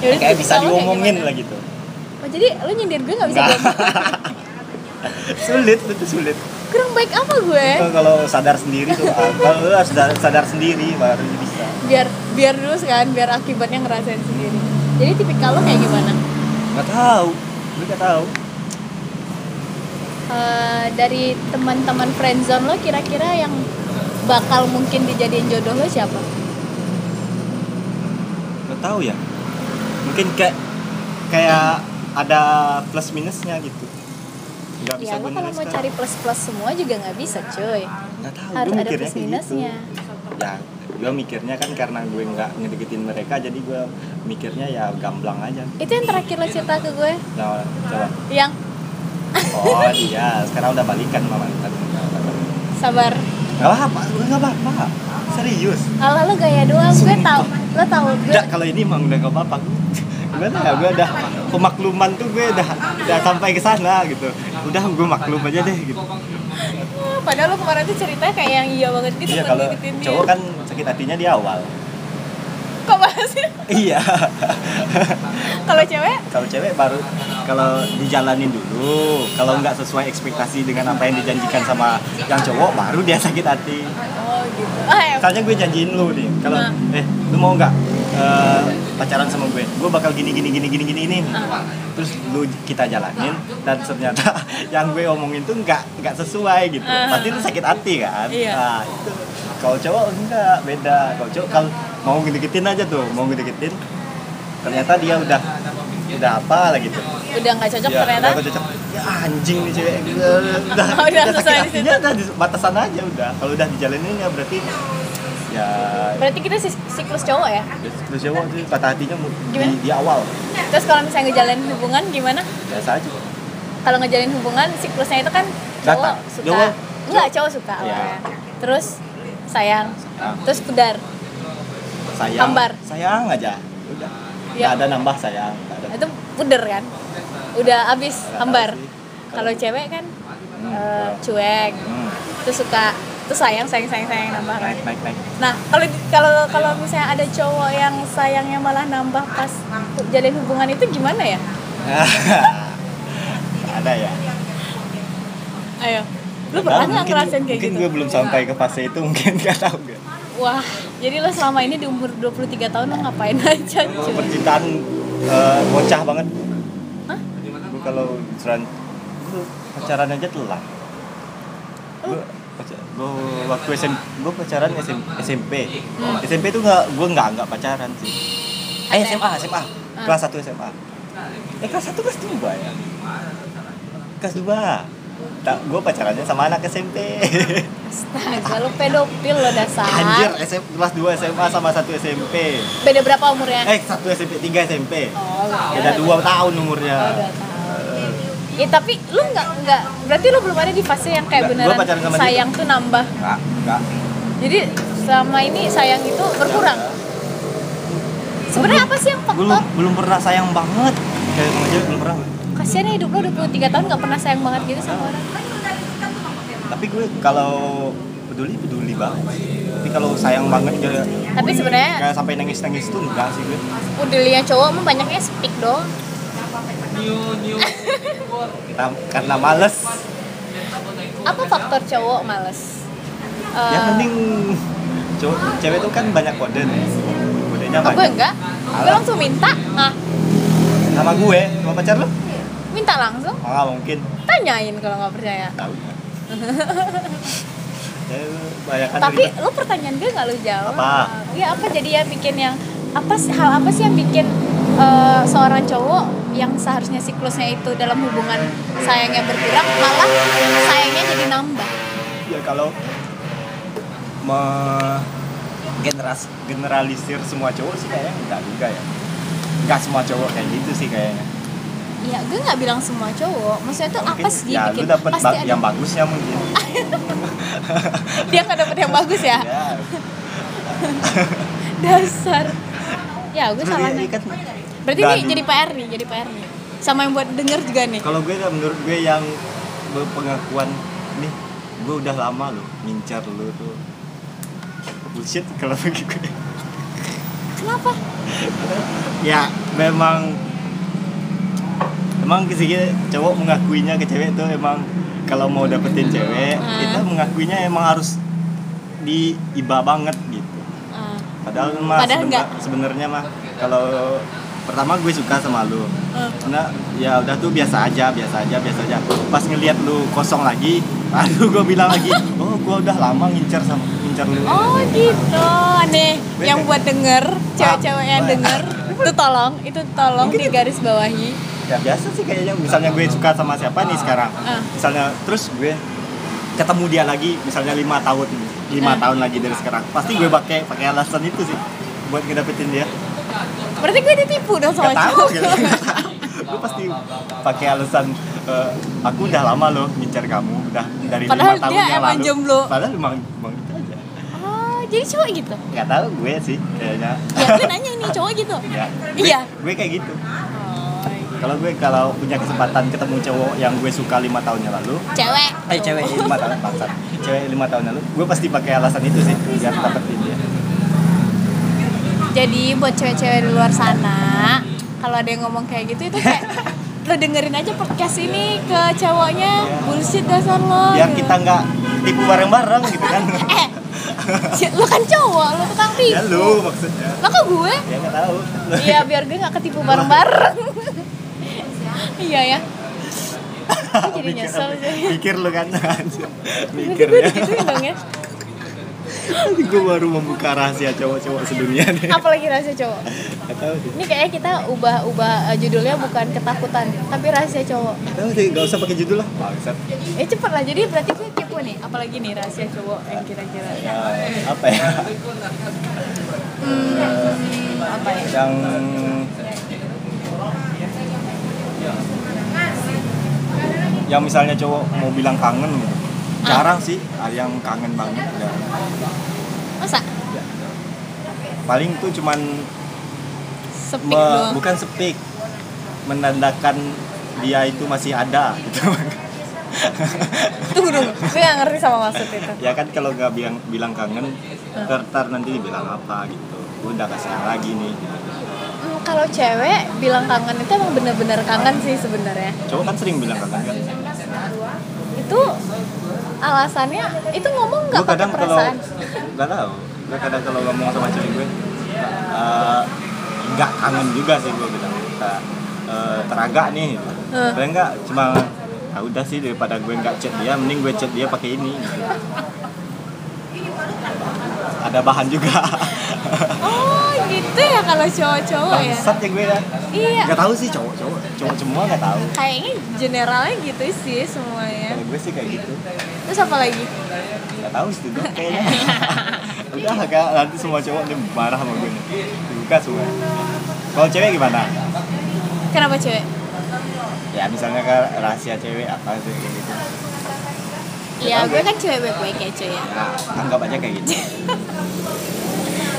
Speaker 2: Yaudah,
Speaker 1: Kayak
Speaker 2: tipikal
Speaker 1: bisa
Speaker 2: lo kayak
Speaker 1: diomongin
Speaker 2: ya gimana?
Speaker 1: lah gitu.
Speaker 2: Oh, jadi lo nyindir gue gak bisa
Speaker 1: Nggak. [LAUGHS]
Speaker 2: diomongin.
Speaker 1: sulit, itu sulit.
Speaker 2: Kurang baik apa gue?
Speaker 1: Kalau- Kalau sadar sendiri tuh, ah, kalau lu harus sadar, sadar sendiri baru bisa.
Speaker 2: Biar biar dulu kan, biar akibatnya ngerasain sendiri. Jadi tipikal lo kayak gimana?
Speaker 1: Gak tahu, gue gak tahu.
Speaker 2: Eh, dari teman-teman friendzone lo kira-kira yang bakal mungkin dijadiin jodoh lo siapa?
Speaker 1: Gak tahu ya. Mungkin kayak kayak ada plus minusnya gitu. Gak bisa
Speaker 2: Ya
Speaker 1: gue
Speaker 2: lo kalau
Speaker 1: nulis
Speaker 2: mau
Speaker 1: kan.
Speaker 2: cari plus-plus semua juga nggak bisa cuy
Speaker 1: Nggak tahu,
Speaker 2: Harus
Speaker 1: gue
Speaker 2: ada
Speaker 1: mikirnya
Speaker 2: plus
Speaker 1: kayak
Speaker 2: minusnya
Speaker 1: gitu. Ya, gue mikirnya kan karena gue nggak ngedeketin mereka, jadi gue mikirnya ya gamblang aja.
Speaker 2: Itu yang terakhir lo cerita ke gue
Speaker 1: Nah, coba.
Speaker 2: Yang
Speaker 1: Oh iya, sekarang udah balikan sama mantan.
Speaker 2: sabar
Speaker 1: Gak apa-apa, gue gak apa-apa. Serius.
Speaker 2: Allah lo gaya doang gue
Speaker 1: Sumpah.
Speaker 2: tau Lo tau gue
Speaker 1: Enggak, kalau ini emang udah gak apa-apa. Gimana ya, gue udah pemakluman tuh gue udah, udah sampai ke sana gitu. Udah gue maklum aja deh gitu.
Speaker 2: Padahal lo kemarin tuh ceritanya kayak yang iya banget gitu
Speaker 1: Iya
Speaker 2: buat
Speaker 1: kalau
Speaker 2: ngikutin dia.
Speaker 1: cowok kan sakit hatinya di awal.
Speaker 2: Kok masih
Speaker 1: Iya.
Speaker 2: Kalau cewek
Speaker 1: [LAUGHS] kalau cewek baru kalau dijalanin dulu, kalau nggak sesuai ekspektasi dengan apa yang dijanjikan sama yang cowok, baru dia sakit hati.
Speaker 2: Oh gitu ah, ya.
Speaker 1: Misalnya gue janjiin lu nih, kalau
Speaker 2: Nah.
Speaker 1: eh lu mau nggak eh, pacaran sama gue, gue bakal gini gini gini gini gini ini. Terus lu kita jalanin dan ternyata [LAUGHS] yang gue omongin tuh nggak nggak sesuai gitu.
Speaker 2: Ah.
Speaker 1: Pasti lu sakit hati kan?
Speaker 2: Iya.
Speaker 1: Nah, itu. Kalau cowok enggak beda. Kalau cowok kalau mau ngedeketin aja tuh, mau ngedeketin ternyata dia udah udah apa lah gitu.
Speaker 2: Udah gak cocok
Speaker 1: Ya,
Speaker 2: ternyata
Speaker 1: udah cocok. Ya anjing nih
Speaker 2: [LAUGHS]
Speaker 1: cewek. Udah, udah,
Speaker 2: Oh, udah
Speaker 1: sakit
Speaker 2: selesai di
Speaker 1: hatinya udah di batasan aja udah. Kalau udah dijalanin ya berarti ya
Speaker 2: Berarti kita si- siklus cowok ya
Speaker 1: terus cowok tuh patah hatinya mu- di,
Speaker 2: Gimana?
Speaker 1: di awal
Speaker 2: Terus kalau misalnya ngejalanin hubungan gimana?
Speaker 1: biasa aja.
Speaker 2: Kalau ngejalin hubungan siklusnya itu kan cowok
Speaker 1: Datang.
Speaker 2: suka
Speaker 1: Cowok-
Speaker 2: Enggak, cowok suka
Speaker 1: Iya.
Speaker 2: awalnya. Terus sayang
Speaker 1: Suka.
Speaker 2: Terus pudar
Speaker 1: Nah, sayang
Speaker 2: Hambar.
Speaker 1: sayang aja udah nggak
Speaker 2: Iya.
Speaker 1: ada nambah sayang nggak ada
Speaker 2: itu puder kan udah abis
Speaker 1: Nggak tahu
Speaker 2: hambar
Speaker 1: sih.
Speaker 2: kalau cewek kan
Speaker 1: Hmm.
Speaker 2: eh, cuek
Speaker 1: Hmm.
Speaker 2: terus suka terus sayang sayang sayang sayang nambah kan
Speaker 1: naik naik
Speaker 2: [LAUGHS]
Speaker 1: naik [LAUGHS]
Speaker 2: nah kalau kalau kalau misalnya ada cowok yang sayangnya malah nambah pas jalin hubungan itu gimana ya
Speaker 1: ada ya
Speaker 2: ayo
Speaker 1: Padahal
Speaker 2: lu pernah nggak
Speaker 1: mungkin-
Speaker 2: ngerasain kayak
Speaker 1: mungkin
Speaker 2: gitu
Speaker 1: gue belum sampai ke fase itu mungkin nggak tahu gue
Speaker 2: wah jadi lo selama ini di umur 23 tahun lo ngapain [LAUGHS] aja
Speaker 1: Kalau
Speaker 2: cuy
Speaker 1: percintaan eh, bocah banget
Speaker 2: Hah?
Speaker 1: gue kalau seran gue pacaran aja telat gue gue waktu SM gue pacaran SM, SMP
Speaker 2: Hmm.
Speaker 1: SMP tuh nggak gue nggak nggak pacaran sih eh
Speaker 2: Ada. Ah.
Speaker 1: SMA SMA kelas 1 SMA eh kelas 1 kelas 2 ya kelas 2 tak gue pacarannya sama anak SMP
Speaker 2: astaga lo pedofil lo dasar
Speaker 1: [LAUGHS] anjir SM, kelas 2 SMA sama satu SMP
Speaker 2: beda berapa umurnya
Speaker 1: eh satu SMP tiga SMP
Speaker 2: oh lu
Speaker 1: beda
Speaker 2: kira-
Speaker 1: dua tahun
Speaker 2: Oh,
Speaker 1: umurnya
Speaker 2: dua tahun. Ya tapi lu nggak nggak berarti lu belum ada di fase yang kayak
Speaker 1: Nggak, gua
Speaker 2: beneran
Speaker 1: pacaran sama
Speaker 2: sayang tuh nambah.
Speaker 1: Enggak, enggak.
Speaker 2: Jadi selama ini sayang itu berkurang. Sebenarnya apa sih yang
Speaker 1: Belum
Speaker 2: faktor?
Speaker 1: belum pernah sayang banget. Kayak sama cewek belum pernah.
Speaker 2: Kasihan ya hidup lu 23 tahun nggak pernah sayang banget gitu sama orang.
Speaker 1: Tapi gue kalau peduli peduli banget. sih. Tapi kalau sayang banget kayak
Speaker 2: Tapi
Speaker 1: Iya.
Speaker 2: sebenarnya
Speaker 1: kayak sampai nangis-nangis tuh enggak sih gue.
Speaker 2: udelnya cowok mah banyaknya speak dong.
Speaker 1: Kita, karena males.
Speaker 2: Apa faktor cowok males? Eh,
Speaker 1: Ya mending cowok cewek tuh kan banyak kode nih. Kodenya
Speaker 2: oh, gue
Speaker 1: banyak.
Speaker 2: enggak. Gue
Speaker 1: Alah.
Speaker 2: langsung minta. Nah,
Speaker 1: Sama gue, sama pacar lu?
Speaker 2: minta langsung.
Speaker 1: Ah, mungkin.
Speaker 2: Tanyain kalau nggak percaya. [LAUGHS]
Speaker 1: Tahu. Ya, banyak kan
Speaker 2: Tapi lu pertanyaan gue nggak lu jawab.
Speaker 1: Apa?
Speaker 2: Ya apa jadi ya bikin yang apa sih hal apa sih yang bikin eh, seorang cowok yang seharusnya siklusnya itu dalam hubungan sayangnya berkurang malah sayangnya jadi nambah.
Speaker 1: ya kalau me generas- generalisir semua cowok sih kayaknya enggak juga ya enggak semua cowok kayak gitu sih kayaknya
Speaker 2: Ya gue nggak bilang semua cowok. Maksudnya tuh
Speaker 1: mungkin
Speaker 2: apa sih
Speaker 1: ya lu
Speaker 2: bikin
Speaker 1: dapet
Speaker 2: pasti
Speaker 1: ba-
Speaker 2: ada-
Speaker 1: yang bagusnya
Speaker 2: [LAUGHS]
Speaker 1: mungkin
Speaker 2: dia nggak dapet yang bagus
Speaker 1: [LAUGHS]
Speaker 2: ya
Speaker 1: ya
Speaker 2: dasar. Ya gue salah
Speaker 1: Jadi,
Speaker 2: nih.
Speaker 1: kan
Speaker 2: Berarti
Speaker 1: dan-
Speaker 2: nih jadi PR nih, jadi PR nih. Sama yang buat denger juga nih.
Speaker 1: kalau gue ya, menurut gue yang pengakuan nih gue udah lama loh ngincar lu tuh bullshit kalau bagi gue
Speaker 2: Kenapa?
Speaker 1: ya memang emang sih cowok mengakuinya ke cewek tuh emang kalau mau dapetin cewek
Speaker 2: Ah.
Speaker 1: kita mengakuinya emang harus di iba banget gitu
Speaker 2: Ah,
Speaker 1: padahal mah
Speaker 2: Padahal
Speaker 1: sebentar-
Speaker 2: enggak.
Speaker 1: sebenarnya mah kalau pertama gue suka sama lu
Speaker 2: ah.
Speaker 1: nah ya udah tuh biasa aja biasa aja biasa aja pas ngelihat lu kosong lagi [LAUGHS] aduh gue bilang lagi oh gue udah lama ngincer sama ngincer lu
Speaker 2: Oh gitu, nih yang buat denger, cewek-cewek yang
Speaker 1: Apa?
Speaker 2: denger, itu tolong, itu tolong
Speaker 1: Ah, Mungkin-
Speaker 2: digaris bawahi.
Speaker 1: ya biasa sih kayaknya misalnya gue suka sama siapa nih sekarang
Speaker 2: Ah.
Speaker 1: misalnya terus gue ketemu dia lagi misalnya lima tahun lima
Speaker 2: Ah.
Speaker 1: tahun lagi dari sekarang pasti gue pakai pakai alasan itu sih buat ngedapetin dia
Speaker 2: Berarti gue ditipu dong sama
Speaker 1: nggak tahu
Speaker 2: cowok.
Speaker 1: gitu [LAUGHS] Nggak tahu. gue pasti pakai alasan eh, aku udah lama loh ngincar kamu udah dari
Speaker 2: Padahal
Speaker 1: lima tahun
Speaker 2: dia
Speaker 1: yang
Speaker 2: emang
Speaker 1: lalu
Speaker 2: jomblo.
Speaker 1: padahal emang emang gitu aja
Speaker 2: [LAUGHS] Oh, jadi cowok gitu.
Speaker 1: nggak tahu gue sih kayaknya
Speaker 2: Ya gue nanya ini cowok gitu.
Speaker 1: Ya,
Speaker 2: Iya.
Speaker 1: gue kayak gitu kalau gue kalau punya kesempatan ketemu cowok yang gue suka lima tahun yang lalu
Speaker 2: Cewek.
Speaker 1: Eh cewek lima tahun bangsat. Cewek lima tahun lalu. Gue pasti pakai alasan itu sih biar ya. dapetin dia.
Speaker 2: Oh, Jadi buat cewek-cewek di luar sana, kalau ada yang ngomong kayak gitu itu
Speaker 1: [LAUGHS]
Speaker 2: kayak lo dengerin aja podcast ini ke cowoknya bullshit dasar lo
Speaker 1: Biar
Speaker 2: gitu.
Speaker 1: Ya, kita nggak tipu bareng-bareng gitu kan.
Speaker 2: eh lo kan cowok lo tukang
Speaker 1: ya
Speaker 2: tipu
Speaker 1: lu maksudnya.
Speaker 2: lo kok gue
Speaker 1: Ya nggak tahu.
Speaker 2: Iya biar gue gak ketipu
Speaker 1: [LAUGHS]
Speaker 2: bareng-bareng Iya ya Gue jadi
Speaker 1: Mikir-
Speaker 2: nyesel sih
Speaker 1: Mikir lu kan. anjir.
Speaker 2: Berarti
Speaker 1: Mikir
Speaker 2: gue
Speaker 1: ya.
Speaker 2: digituin dong ya
Speaker 1: gue baru membuka rahasia cowok-cowok sedunia nih.
Speaker 2: Apalagi rasa cowok
Speaker 1: Nggak tahu sih.
Speaker 2: Ini kayaknya kita ubah-ubah eh, judulnya bukan ketakutan Tapi rahasia cowok
Speaker 1: Nggak tahu sih. Nggak usah pakai judul lah. Bangsat.
Speaker 2: Ya cepet lah jadi berarti gue kepo nih Apalagi nih rahasia cowok yang kira-kira
Speaker 1: Ya, apa ya?
Speaker 2: Hmm, Apa ya
Speaker 1: Yang yang misalnya cowok mau bilang kangen gitu.
Speaker 2: Ah.
Speaker 1: ya. Jarang sih ada yang kangen banget. jarang.
Speaker 2: Masa?
Speaker 1: paling tuh cuman
Speaker 2: Sepik
Speaker 1: me-
Speaker 2: doang.
Speaker 1: bukan sepik menandakan dia itu masih ada gitu
Speaker 2: [LAUGHS]
Speaker 1: [LAUGHS]
Speaker 2: Tunggu dulu, gue gak ngerti sama maksud itu.
Speaker 1: ya kan kalau nggak bilang bilang kangen ntar, ntar nanti dibilang apa gitu Gua udah gak sayang lagi nih
Speaker 2: Hmm, kalau cewek bilang kangen itu emang bener-bener kangen sih sebenarnya.
Speaker 1: cowok kan sering bilang kangen kan
Speaker 2: Itu alasannya itu ngomong nggak
Speaker 1: gue
Speaker 2: pakai
Speaker 1: kadang kalau
Speaker 2: perasaan.
Speaker 1: nggak tahu gue kadang kalau ngomong sama cewek gue eh, nggak kangen juga sih gue bilang Nggak, eh, teragak nih
Speaker 2: Hmm.
Speaker 1: paling nggak cuma ah udah sih daripada gue nggak chat dia mending gue chat dia pakai ini gitu. ada bahan juga
Speaker 2: Oh gitu ya kalau
Speaker 1: [LAUGHS]
Speaker 2: cowok-cowok ya.
Speaker 1: bangsat ya gue ya
Speaker 2: Iya.
Speaker 1: nggak tahu sih cowok cowok cowok semua nggak tahu
Speaker 2: Kayaknya generalnya gitu sih semuanya.
Speaker 1: kalau gue sih kayak gitu
Speaker 2: Terus apa lagi?
Speaker 1: nggak tahu sih tuh
Speaker 2: [LAUGHS]
Speaker 1: kayaknya udah agak nanti semua cowok nih marah sama gue nih buka semua kalau cewek gimana
Speaker 2: Kenapa cewek?
Speaker 1: ya misalnya kan rahasia cewek apa sih kayak gitu
Speaker 2: Iya, gue kan cewek baik-baik ya cuy ya.
Speaker 1: nah anggap aja kayak gitu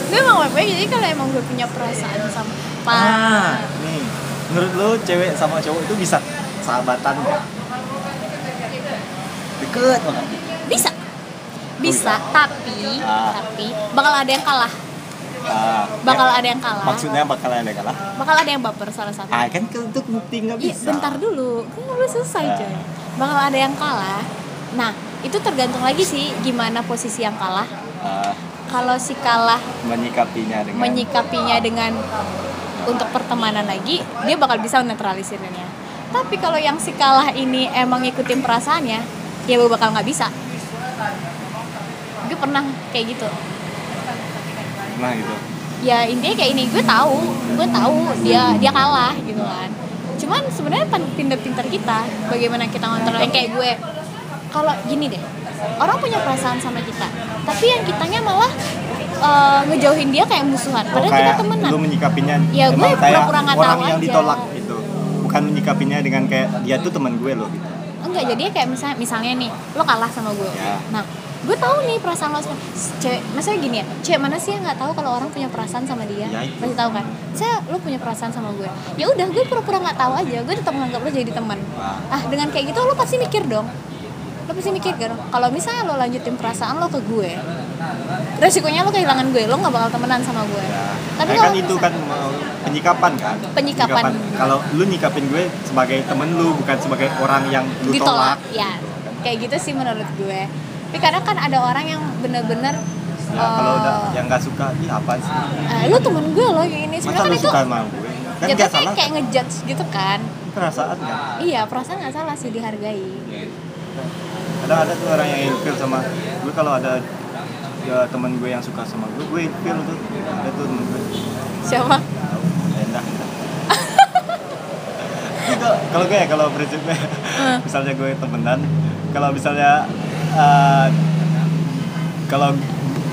Speaker 2: Gue emang baik-baik, jadi kalau emang gue punya perasaan sama
Speaker 1: ah nih menurut lo cewek sama cowok itu bisa sahabatan nggak deket banget
Speaker 2: bisa bisa
Speaker 1: Oh, iya.
Speaker 2: tapi
Speaker 1: Ah.
Speaker 2: tapi bakal ada yang kalah
Speaker 1: ah,
Speaker 2: bakal
Speaker 1: ya,
Speaker 2: ada yang kalah
Speaker 1: maksudnya bakal ada kalah
Speaker 2: bakal ada yang baper salah satu
Speaker 1: ah kan ke- itu bukti nggak
Speaker 2: Iya,
Speaker 1: bisa
Speaker 2: bentar dulu. Kan belum selesai,
Speaker 1: Ah.
Speaker 2: coy. Bakal ada yang kalah. Nah, itu tergantung lagi sih gimana posisi yang kalah.
Speaker 1: Ah,
Speaker 2: Kalau si kalah
Speaker 1: menyikapinya dengan
Speaker 2: menyikapinya dengan untuk pertemanan lagi, dia bakal bisa netralisinnya. Tapi kalau yang si kalah ini emang ngikutin perasaannya, ya gue bakal nggak bisa. Gue pernah kayak gitu.
Speaker 1: nah gitu
Speaker 2: ya intinya kayak ini gue tahu gue tahu dia dia kalah gitu kan cuman sebenarnya pan- pinter-pinter kita bagaimana kita ngontrol yang kayak gue kalau gini deh orang punya perasaan sama kita tapi yang kitanya malah eh, ngejauhin dia kayak musuhan
Speaker 1: Oh,
Speaker 2: padahal kita
Speaker 1: kayak
Speaker 2: temenan
Speaker 1: lu menyikapinya
Speaker 2: Ya, gue
Speaker 1: emang kayak
Speaker 2: pura-pura nggak
Speaker 1: orang
Speaker 2: tahu
Speaker 1: yang
Speaker 2: aja.
Speaker 1: ditolak gitu bukan menyikapinya dengan kayak dia tuh teman gue loh gitu
Speaker 2: enggak jadi kayak misalnya misalnya nih lo kalah sama gue
Speaker 1: Ya.
Speaker 2: nah gue tahu nih perasaan lo sama cewek maksudnya gini ya cewek mana sih yang nggak tahu kalau orang punya perasaan sama dia
Speaker 1: Ya, itu.
Speaker 2: pasti tahu kan saya lo punya perasaan sama gue ya udah gue pura-pura nggak tahu aja gue tetap menganggap lo jadi teman
Speaker 1: Wah.
Speaker 2: ah dengan kayak gitu lo pasti mikir dong lo pasti mikir kan kalau misalnya lo lanjutin perasaan lo ke gue resikonya lo kehilangan gue lo nggak bakal temenan sama gue
Speaker 1: Ya.
Speaker 2: tapi
Speaker 1: Ya
Speaker 2: kalau
Speaker 1: kan itu
Speaker 2: misalnya-
Speaker 1: kan mau penyikapan kan.
Speaker 2: Penyikapan.
Speaker 1: Kalau lu nyikapin gue sebagai temen lu bukan sebagai orang yang lu
Speaker 2: ditolak
Speaker 1: tolak.
Speaker 2: ya kayak gitu sih menurut gue tapi kadang kan ada orang yang bener-bener
Speaker 1: Ya, kalau
Speaker 2: eh,
Speaker 1: udah yang nggak suka, ih apa sih?
Speaker 2: eh, lu temen gue loh yang ini
Speaker 1: Masa lu
Speaker 2: sebenarnya kan itu
Speaker 1: suka sama gue? Kan
Speaker 2: jatuhnya
Speaker 1: nggak salah
Speaker 2: kayak ngejudge gitu kan
Speaker 1: kan? perasaan kan.
Speaker 2: iya perasaan nggak salah sih dihargai
Speaker 1: Kadang ada tuh orang yang ilfil sama gue kalau ada ya, temen gue yang suka sama gue, gue ilfil tuh. Ada tuh temen gue.
Speaker 2: siapa [LAUGHS]
Speaker 1: Endah. itu kalau gue ya kalau prinsipnya misalnya gue temenan kalau misalnya eh, kalau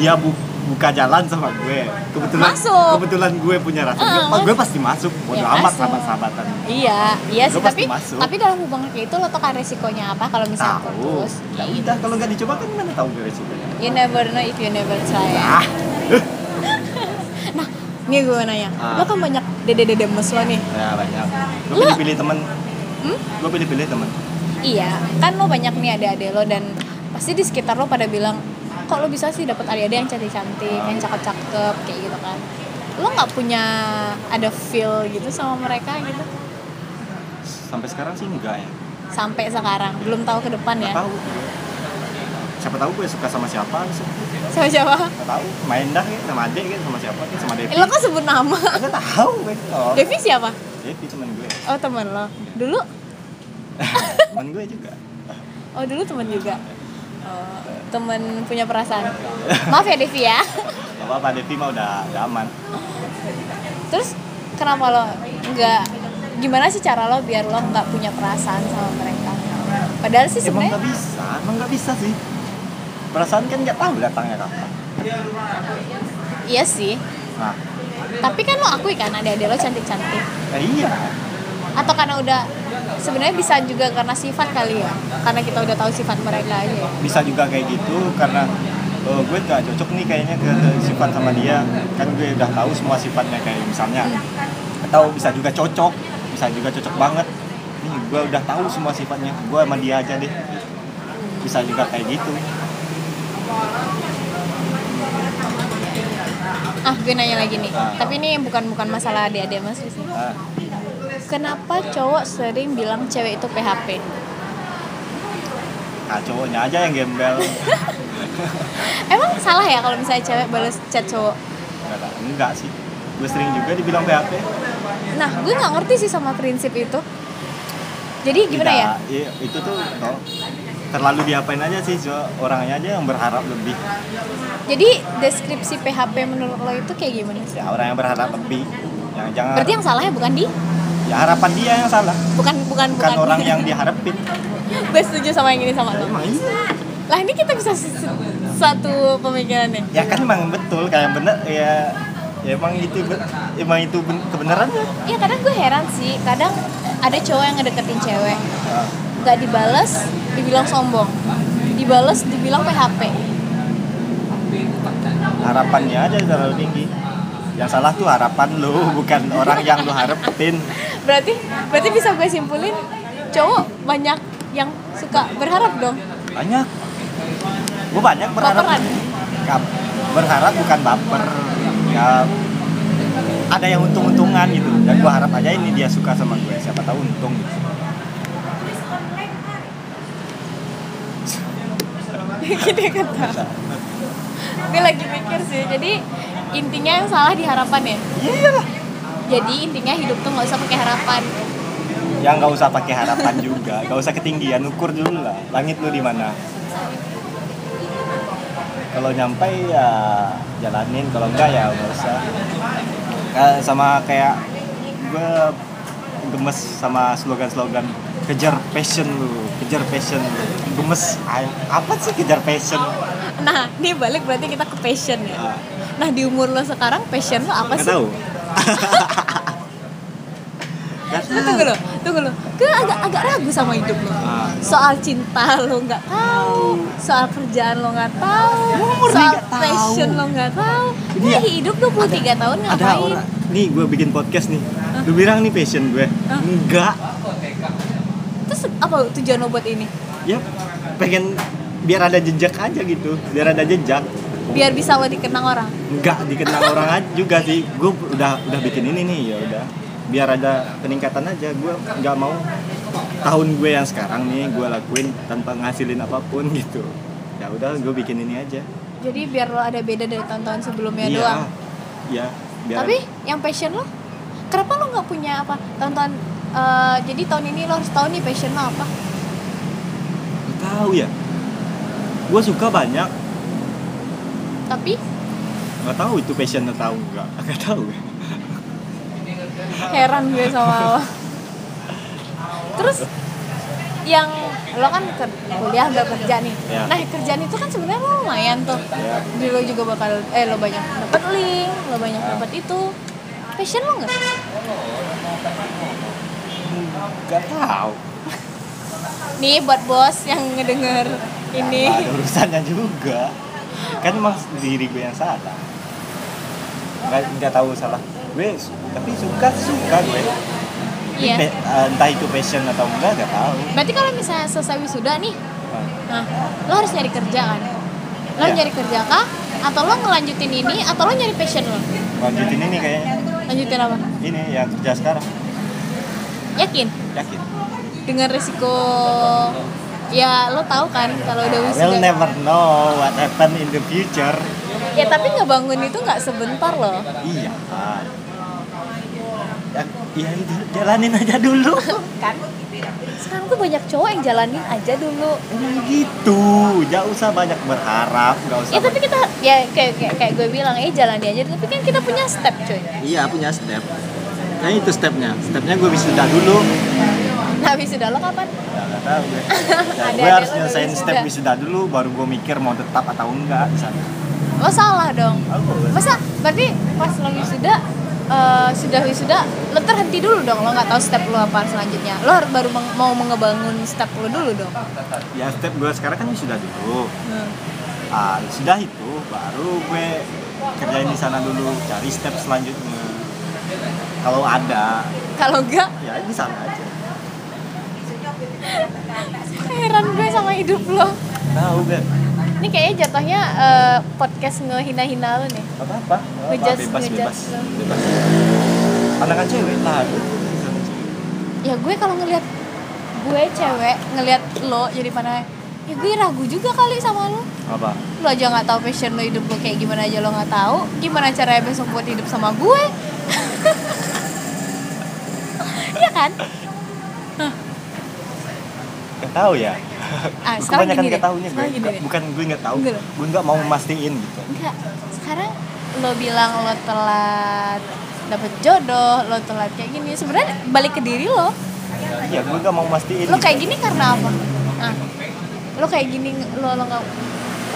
Speaker 1: dia bu- buka jalan sama gue kebetulan
Speaker 2: Masuk.
Speaker 1: kebetulan gue punya rasa
Speaker 2: Ah,
Speaker 1: gue, gue pasti masuk bodo
Speaker 2: Ya,
Speaker 1: amat
Speaker 2: masuk.
Speaker 1: sama sahabatan
Speaker 2: iya iya
Speaker 1: Lu
Speaker 2: sih
Speaker 1: pasti
Speaker 2: tapi
Speaker 1: masuk.
Speaker 2: tapi dalam hubungan kayak itu lo tau kan resikonya apa kalau misalnya
Speaker 1: tahu
Speaker 2: putus
Speaker 1: ya udah kalau nggak dicoba kan mana tahu gue resikonya
Speaker 2: you never know if you never try ya.
Speaker 1: ah
Speaker 2: nah nih gue mau nanya
Speaker 1: Ah.
Speaker 2: lo kan banyak dede-dede mes lo nih
Speaker 1: ya banyak gue
Speaker 2: Lu-
Speaker 1: pilih-pilih temen
Speaker 2: Hmm?
Speaker 1: gue pilih-pilih temen
Speaker 2: Iya, kan lo banyak nih ada adik lo dan pasti di sekitar lo pada bilang kok lo bisa sih dapat adik-adik yang cantik-cantik, yang cakep-cakep kayak gitu kan. Lo nggak punya ada feel gitu sama mereka gitu
Speaker 1: sampai sekarang sih enggak ya
Speaker 2: sampai sekarang belum tahu ke depan ya
Speaker 1: Nggak tahu siapa tahu gue suka sama siapa siapa-
Speaker 2: sama siapa
Speaker 1: Gak tahu, main dah ya, sama Ade kan sama siapa kan sama Devi.
Speaker 2: eh, lo kan sebut nama [LAUGHS]
Speaker 1: Gak tahu gue. Oh,
Speaker 2: Devi siapa
Speaker 1: Devi teman gue.
Speaker 2: oh teman lo dulu
Speaker 1: Teman gue juga.
Speaker 2: oh dulu teman juga oh, teman punya perasaan
Speaker 1: [LAUGHS]
Speaker 2: maaf ya Devi ya
Speaker 1: Gak apa-apa Devi mah udah, udah aman.
Speaker 2: terus kenapa lo nggak gimana sih cara lo biar lo nggak punya perasaan sama mereka padahal sih
Speaker 1: Emang kan-
Speaker 2: sebenarnya
Speaker 1: gak bisa, emang gak bisa sih. Perasaan kan gak tahu datangnya kapan.
Speaker 2: iya sih
Speaker 1: Nah,
Speaker 2: tapi kan lo akui kan adik-adik lo cantik-cantik
Speaker 1: ya iya.
Speaker 2: atau karena udah sebenarnya bisa juga karena sifat kali ya karena kita udah tahu sifat mereka aja ya.
Speaker 1: Bisa juga kayak gitu karena oh, gue nggak cocok nih kayaknya ke sifat sama dia kan gue udah tahu semua sifatnya kayak misalnya atau bisa juga cocok bisa juga cocok banget nih gue udah tahu semua sifatnya gue sama dia aja deh bisa juga kayak gitu
Speaker 2: ah gue nanya lagi nih
Speaker 1: Ah.
Speaker 2: tapi ini bukan bukan masalah adik-adik mas Rizky.
Speaker 1: Ah,
Speaker 2: kenapa cowok sering bilang cewek itu PHP
Speaker 1: ah, cowoknya aja yang gembel
Speaker 2: emang salah ya kalau misalnya cewek balas chat cowok
Speaker 1: Nggak tahu. enggak sih gue sering juga dibilang PHP
Speaker 2: nah gue nggak ngerti sih sama prinsip itu jadi gimana
Speaker 1: Tidak,
Speaker 2: ya
Speaker 1: iya, itu tuh tau, terlalu diapain aja sih so, orangnya aja yang berharap lebih
Speaker 2: jadi deskripsi PHP menurut lo itu kayak gimana sih
Speaker 1: ya orang yang berharap lebih yang jangan
Speaker 2: berarti yang salahnya bukan di
Speaker 1: ya harapan dia yang salah
Speaker 2: bukan bukan
Speaker 1: bukan orang yang diharapin
Speaker 2: [LAUGHS] gue setuju sama yang ini sama lo
Speaker 1: emang iya
Speaker 2: lah ini kita bisa se- se- satu pemikiran nih
Speaker 1: ya kan emang betul kayak yang bener ya ya emang itu be- emang itu ben- kebenarannya
Speaker 2: ya kadang gue heran sih kadang ada cowok yang ngedeketin cewek
Speaker 1: Nah,
Speaker 2: nggak dibales dibilang sombong dibales dibilang PHP
Speaker 1: harapannya aja terlalu tinggi yang salah tuh harapan lo [LAUGHS] bukan orang yang lo harapin
Speaker 2: berarti berarti bisa gue simpulin cowok banyak yang suka berharap dong
Speaker 1: banyak gue banyak berharap
Speaker 2: Baperan.
Speaker 1: Kap- berharap bukan baper ya ada yang untung-untungan gitu dan gue harap aja ini dia suka sama gue siapa tahu untung gitu.
Speaker 2: gitu ya kata gue lagi mikir sih jadi intinya yang salah di harapan ya
Speaker 1: iya lah
Speaker 2: jadi intinya hidup tuh nggak usah pakai harapan
Speaker 1: ya nggak usah pakai harapan juga nggak usah ketinggian ukur dulu lah langit lu di mana kalau nyampe ya jalanin kalau enggak ya nggak usah Eh, sama kayak gue gemes sama slogan-slogan kejar passion lu kejar passion lu gemes Ay, apa sih kejar passion
Speaker 2: nah ini balik berarti kita ke passion ya
Speaker 1: Ah,
Speaker 2: nah di umur lo sekarang passion lo apa
Speaker 1: nggak
Speaker 2: sih
Speaker 1: tahu
Speaker 2: Lu tunggu lo tunggu lo gue agak agak ragu sama hidup lo
Speaker 1: Ah.
Speaker 2: soal cinta lo nggak tahu soal kerjaan lo nggak tahu
Speaker 1: murni
Speaker 2: soal
Speaker 1: nggak tahu.
Speaker 2: passion lo nggak tahu
Speaker 1: Ini
Speaker 2: gue
Speaker 1: ya,
Speaker 2: lagi hidup 23 tahun
Speaker 1: ada
Speaker 2: ngapain
Speaker 1: orang nih gue bikin podcast nih lu bilang nih passion gue
Speaker 2: Hah?
Speaker 1: enggak
Speaker 2: terus apa tujuan lo buat ini
Speaker 1: ya pengen biar ada jejak aja gitu biar ada jejak
Speaker 2: biar bisa lo dikenang orang
Speaker 1: nggak dikenal orang aja juga sih gue udah udah bikin ini nih ya udah biar ada peningkatan aja gue nggak mau tahun gue yang sekarang nih gue lakuin tanpa ngasilin apapun gitu ya udah gue bikin ini aja
Speaker 2: jadi biar lo ada beda dari tahun-tahun sebelumnya doang
Speaker 1: iya biar
Speaker 2: tapi yang passion lo kenapa lo nggak punya apa tahun-tahun eh, jadi tahun ini lo harus tahu nih passion lo apa
Speaker 1: Nggak tahu ya gue suka banyak
Speaker 2: tapi
Speaker 1: nggak tahu itu passion atau enggak nggak tahu
Speaker 2: heran gue sama lo terus yang lo kan ker- kuliah udah kerja nih
Speaker 1: Ya.
Speaker 2: nah kerjaan itu kan sebenarnya lo lumayan tuh
Speaker 1: Ya.
Speaker 2: Jadi lo juga bakal eh lo banyak dapet link lo banyak dapet itu passion lo nggak
Speaker 1: nggak tahu
Speaker 2: nih buat bos yang ngedenger ini
Speaker 1: Nggak ada urusannya juga kan emang diri gue yang salah nggak nggak tahu salah gue su- tapi suka suka gue Tapi
Speaker 2: Iya.
Speaker 1: pe- entah itu passion atau enggak nggak tahu Eh,
Speaker 2: berarti kalau misalnya selesai wisuda nih nah lo harus nyari kerja kan lo
Speaker 1: Iya.
Speaker 2: nyari kerja kah atau lo ngelanjutin ini atau lo nyari passion lo
Speaker 1: lanjutin ini kayaknya
Speaker 2: lanjutin apa
Speaker 1: ini yang kerja sekarang
Speaker 2: yakin
Speaker 1: yakin
Speaker 2: dengan resiko ya lo tahu kan kalau udah
Speaker 1: we'll
Speaker 2: wisuda
Speaker 1: never know what happen in the future
Speaker 2: ya tapi ngebangun itu nggak sebentar loh
Speaker 1: iya Pak. ya, ya itu jalanin aja
Speaker 2: [LAUGHS]
Speaker 1: dulu
Speaker 2: kan sekarang tuh banyak cowok yang jalanin aja dulu
Speaker 1: emang gitu jangan usah banyak berharap nggak usah
Speaker 2: ya tapi kita ya kayak kayak, kayak gue bilang eh jalani aja tapi kan kita punya step cuy
Speaker 1: Iya punya step. Nah itu stepnya. Stepnya gue wisuda dulu.
Speaker 2: nah wisuda lo kapan
Speaker 1: Gak tahu gue. Ya,
Speaker 2: [LAUGHS] Ada-ada
Speaker 1: gue harus
Speaker 2: lu
Speaker 1: nyelesain
Speaker 2: wisuda.
Speaker 1: step wisuda dulu, baru gue mikir mau tetap atau enggak di sana.
Speaker 2: lo salah dong masa berarti pas lo wisuda eh, sudah wisuda lo terhenti dulu dong lo nggak tahu step lo apa selanjutnya lo harus baru meng- mau mengebangun step lo dulu dong Hmm.
Speaker 1: Ya step gue sekarang kan wisuda dulu. Ah, sudah itu baru gue kerjain di sana dulu cari step selanjutnya kalau ada
Speaker 2: Kalau enggak,
Speaker 1: ya di sana aja
Speaker 2: heran gue sama hidup lo.
Speaker 1: tahu gue
Speaker 2: Ini kayaknya jatuhnya eh, podcast ngehina-hina lo nih.
Speaker 1: apa apa
Speaker 2: Ngejudge,
Speaker 1: bebas
Speaker 2: ngejudge
Speaker 1: bebas
Speaker 2: lu.
Speaker 1: bebas pandangan cewek lah gitu di sana cewek.
Speaker 2: Ya gue kalau ngelihat gue cewek ngelihat lo jadi mana ya gue ragu juga kali sama lo.
Speaker 1: apa
Speaker 2: Lo aja nggak tahu passion lo hidup lo kayak gimana aja lo nggak tahu. Gimana caranya besok buat hidup sama gue? [LAUGHS] Iya kan?
Speaker 1: nggak tahu ya
Speaker 2: Ah, sekarang
Speaker 1: kebanyakan
Speaker 2: gini deh.
Speaker 1: nggak tahunya gue
Speaker 2: Sekarang gini
Speaker 1: Nggak-
Speaker 2: deh.
Speaker 1: bukan gue nggak tahu
Speaker 2: Enggak lah.
Speaker 1: gue nggak mau mastiin gitu
Speaker 2: Enggak, sekarang lo bilang lo telat dapet jodoh, lo telat kayak gini. Sebenarnya balik ke diri lo.
Speaker 1: ya gue nggak mau mastiin
Speaker 2: Lo
Speaker 1: gitu.
Speaker 2: kayak gini karena apa? Ah, lo kayak gini lo lo nggak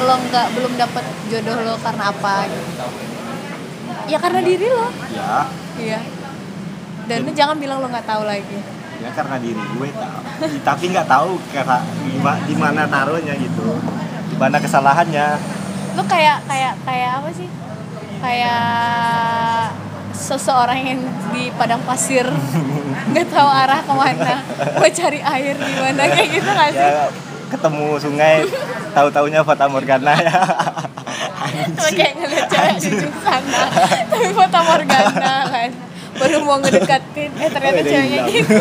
Speaker 2: lo nggak belum dapet jodoh lo karena apa? Gitu. Ya karena diri lo.
Speaker 1: ya
Speaker 2: Iya. Dan lo jangan bilang lo nggak tahu lagi.
Speaker 1: ya karena diri gue tahu tapi nggak tahu karena gima- di mana taruhnya gitu di mana kesalahannya
Speaker 2: Lo kayak kayak kayak apa sih? Kayak seseorang yang di padang pasir nggak tahu arah kemana mau cari air di mana kayak gitu nggak sih
Speaker 1: ya ketemu sungai tahu-taunya Fata Morgana [LAUGHS] ya
Speaker 2: Terus kayak ngeliat cewek di ujung sana tapi foto Morgana kan baru mau ngedeketin eh
Speaker 1: Oh,
Speaker 2: ternyata
Speaker 1: ada
Speaker 2: ceweknya
Speaker 1: hilang.
Speaker 2: gitu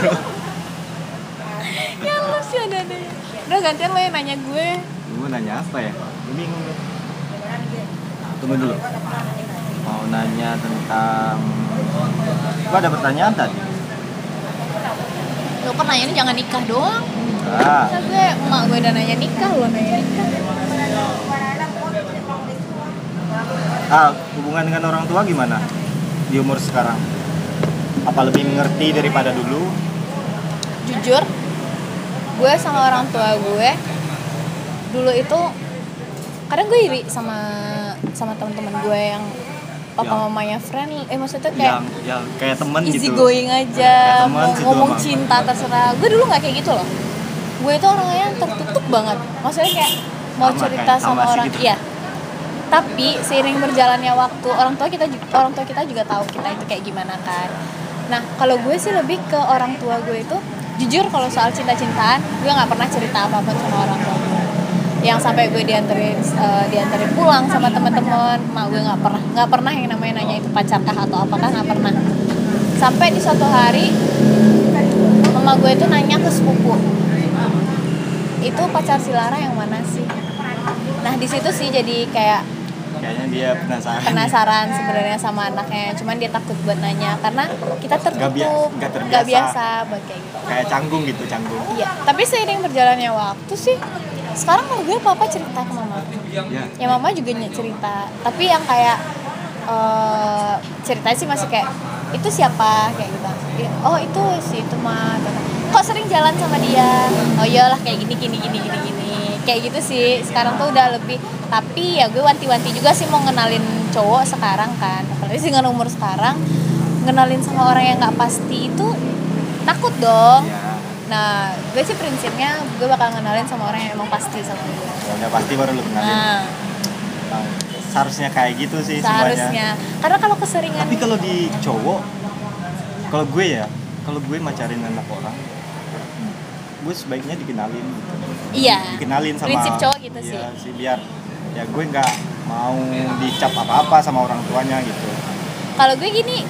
Speaker 2: ya lu sih ada ada udah gantian lo yang nanya gue
Speaker 1: gue nanya apa ya bingung gue. tunggu dulu mau nanya tentang gue ada pertanyaan tadi
Speaker 2: lo kan nanya jangan nikah doang
Speaker 1: enggak
Speaker 2: Masa gue emak gue udah nanya nikah lo nanya nikah
Speaker 1: ah hubungan dengan orang tua gimana di umur sekarang apa lebih mengerti daripada dulu
Speaker 2: jujur gue sama orang tua gue dulu itu kadang gue iri sama sama teman-teman gue yang papa
Speaker 1: Yang-
Speaker 2: mamanya friendly eh maksudnya kayak
Speaker 1: yang yang kayak temen
Speaker 2: easy
Speaker 1: gitu
Speaker 2: going
Speaker 1: Kayak
Speaker 2: aja
Speaker 1: teman
Speaker 2: mau
Speaker 1: gitu
Speaker 2: ngomong
Speaker 1: sama-
Speaker 2: cinta terserah gue dulu nggak kayak gitu loh gue itu orangnya yang tertutup banget maksudnya kayak mau
Speaker 1: Sama,
Speaker 2: cerita
Speaker 1: kayak sama
Speaker 2: sama
Speaker 1: sih
Speaker 2: orang
Speaker 1: gitu.
Speaker 2: iya tapi seiring berjalannya waktu orang tua kita ju- orang tua kita juga tahu kita itu kayak gimana kan nah kalau gue sih lebih ke orang tua gue itu jujur kalau soal cinta-cintaan gue nggak pernah cerita apapun sama orang tua gue yang sampai gue dianterin eh, dianterin pulang sama teman-teman mak gue nggak pernah nggak pernah yang namanya nanya itu pacarkah atau apakah nggak pernah sampai di suatu hari mama gue itu nanya ke sepupu itu pacar si Lara yang mana sih nah di situ sih jadi kayak
Speaker 1: kayaknya dia penasaran
Speaker 2: penasaran sebenarnya sama anaknya cuman dia takut buat nanya karena kita tertutup
Speaker 1: biasa- nggak terbiasa.
Speaker 2: nggak biasa buat kayak gitu
Speaker 1: [LAUGHS] kayak canggung gitu canggung
Speaker 2: iya tapi seiring berjalannya waktu sih sekarang gue papa cerita ke mama
Speaker 1: ya
Speaker 2: ya mama juga ny- cerita tapi yang kayak eh cerita sih masih kayak itu siapa kayak gitu Ya, oh itu si itu mah kata, kok sering jalan sama dia oh iyalah kayak gini gini gini gini gini kayak gitu sih sekarang tuh udah lebih tapi ya gue wanti-wanti juga sih mau ngenalin cowok sekarang kan apalagi sih dengan umur sekarang ngenalin sama orang yang nggak pasti itu takut dong
Speaker 1: ya
Speaker 2: nah gue sih prinsipnya gue bakal ngenalin sama orang yang emang pasti sama gue
Speaker 1: ya udah pasti baru lu kenalin
Speaker 2: nah
Speaker 1: Nah, seharusnya kayak gitu sih semuanya
Speaker 2: seharusnya karena kalau keseringan
Speaker 1: tapi kalau di cowok kalau gue ya kalau gue macarin anak orang
Speaker 2: Hmm.
Speaker 1: gue sebaiknya dikenalin gitu.
Speaker 2: iya
Speaker 1: dikenalin sama
Speaker 2: prinsip cowok gitu
Speaker 1: Iya
Speaker 2: sih
Speaker 1: biar ya gue nggak mau dicap apa apa sama orang tuanya gitu
Speaker 2: kalau gue gini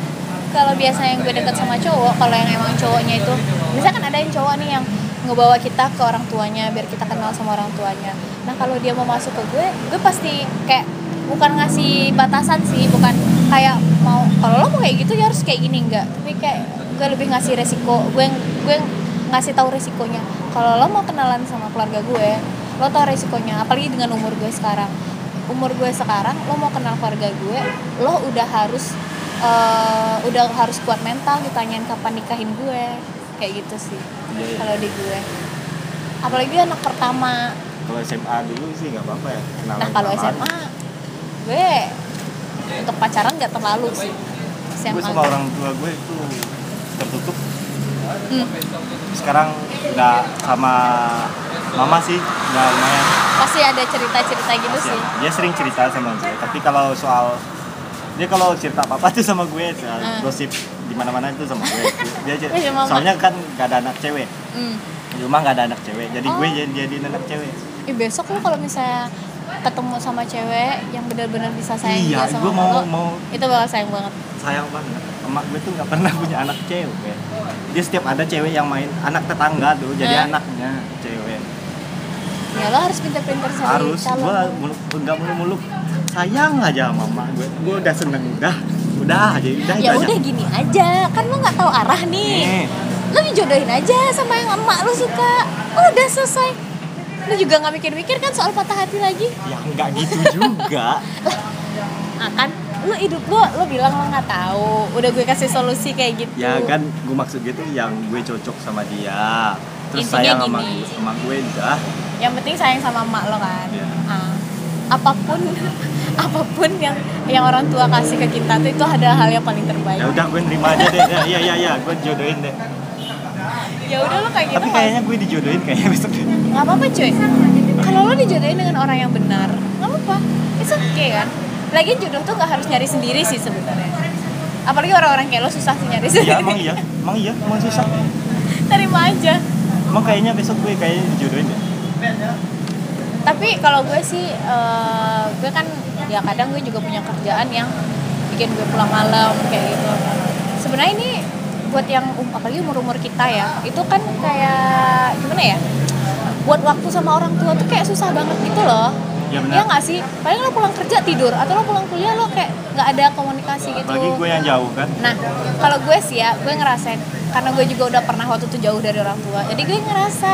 Speaker 2: kalau biasanya yang gue deket sama cowok kalau yang emang cowoknya itu misalkan ada yang cowok nih yang ngebawa kita ke orang tuanya biar kita kenal sama orang tuanya nah kalau dia mau masuk ke gue gue pasti kayak bukan ngasih batasan sih bukan kayak mau kalau lo mau kayak gitu ya harus kayak gini enggak tapi kayak gue lebih ngasih resiko gue gue ngasih tahu resikonya kalau lo mau kenalan sama keluarga gue lo tau resikonya apalagi dengan umur gue sekarang umur gue sekarang lo mau kenal keluarga gue lo udah harus eh, udah harus kuat mental ditanyain kapan nikahin gue kayak gitu sih
Speaker 1: Iya, iya.
Speaker 2: kalau di gue apalagi anak pertama
Speaker 1: kalau SMA dulu sih nggak apa-apa ya kenalan
Speaker 2: nah kalau
Speaker 1: kenalan.
Speaker 2: SMA gue untuk pacaran nggak terlalu sih
Speaker 1: gue
Speaker 2: SMA
Speaker 1: sama orang tua gue itu tertutup
Speaker 2: Hmm.
Speaker 1: sekarang udah sama mama sih udah lumayan
Speaker 2: Pasti ada cerita-cerita gitu
Speaker 1: Iya,
Speaker 2: sih.
Speaker 1: dia sering cerita sama gue tapi kalau soal dia kalau cerita apa apa tuh sama gue soal
Speaker 2: Hmm.
Speaker 1: gosip di mana mana itu sama gue
Speaker 2: [LAUGHS]
Speaker 1: dia cer-
Speaker 2: Eh, sama mama.
Speaker 1: soalnya kan gak ada anak cewek
Speaker 2: Hmm.
Speaker 1: di rumah gak ada anak cewek jadi gue
Speaker 2: Oh.
Speaker 1: jadi jadi anak cewek
Speaker 2: Ih, besok lu kalau misalnya ketemu sama cewek yang benar-benar bisa sayang
Speaker 1: Iya,
Speaker 2: dia sama
Speaker 1: gua mau-
Speaker 2: lo,
Speaker 1: mau-
Speaker 2: itu bakal sayang banget.
Speaker 1: sayang banget emak gue tuh gak pernah [LAUGHS] punya anak cewek dia setiap ada cewek yang main anak tetangga tuh jadi
Speaker 2: Eh.
Speaker 1: anaknya cewek
Speaker 2: Ya lo harus pintar-pintar cari
Speaker 1: harus
Speaker 2: calon.
Speaker 1: gue nggak muluk-muluk sayang aja sama mama gue gue udah seneng udah udah aja udah itu
Speaker 2: ya
Speaker 1: aja.
Speaker 2: udah gini aja, kan lo nggak tahu arah nih.
Speaker 1: Nih,
Speaker 2: Lo dijodohin aja sama yang emak lo suka. Udah selesai. Lo juga nggak mikir-mikir kan soal patah hati lagi?
Speaker 1: ya nggak gitu juga
Speaker 2: Ah kan, lo hidup lo, lo bilang lo nggak tahu. Udah gue kasih solusi kayak gitu.
Speaker 1: ya kan gue maksud gitu yang gue cocok sama dia terus
Speaker 2: Intinya
Speaker 1: sayang sama
Speaker 2: gini.
Speaker 1: gue sama gue udah
Speaker 2: yang penting sayang sama emak lo kan
Speaker 1: Iya.
Speaker 2: Ah, apapun [LAUGHS] apapun yang yang orang tua kasih ke kita tuh itu adalah hal yang paling terbaik
Speaker 1: ya udah gue nerima aja deh ya ya ya, ya. gue jodohin deh
Speaker 2: ya udah lo kayak gitu
Speaker 1: tapi kayaknya gue dijodohin kayaknya besok deh
Speaker 2: Mas. nggak apa-apa cuy kalau lo dijodohin dengan orang yang benar nggak apa-apa it's okay kan lagi jodoh tuh nggak harus nyari sendiri sih sebenarnya apalagi orang-orang kayak lo susah sih nyari
Speaker 1: ya
Speaker 2: sendiri
Speaker 1: emang iya emang iya emang susah
Speaker 2: [LAUGHS] terima aja
Speaker 1: emang kayaknya besok gue kayaknya dijodohin deh
Speaker 2: tapi kalau gue sih eh, gue kan ya kadang gue juga punya kerjaan yang bikin gue pulang malam kayak gitu sebenarnya ini buat yang um- apalagi umur umur kita ya itu kan kayak gimana ya buat waktu sama orang tua tuh kayak susah banget gitu loh
Speaker 1: ya
Speaker 2: Iya
Speaker 1: benar
Speaker 2: nggak sih paling lo pulang kerja tidur atau lo pulang kuliah lo kayak nggak ada komunikasi gitu
Speaker 1: apalagi gue yang jauh kan
Speaker 2: Nah, kalau gue sih ya, gue ngerasain karena gue juga udah pernah waktu itu jauh dari orang tua. Jadi gue ngerasa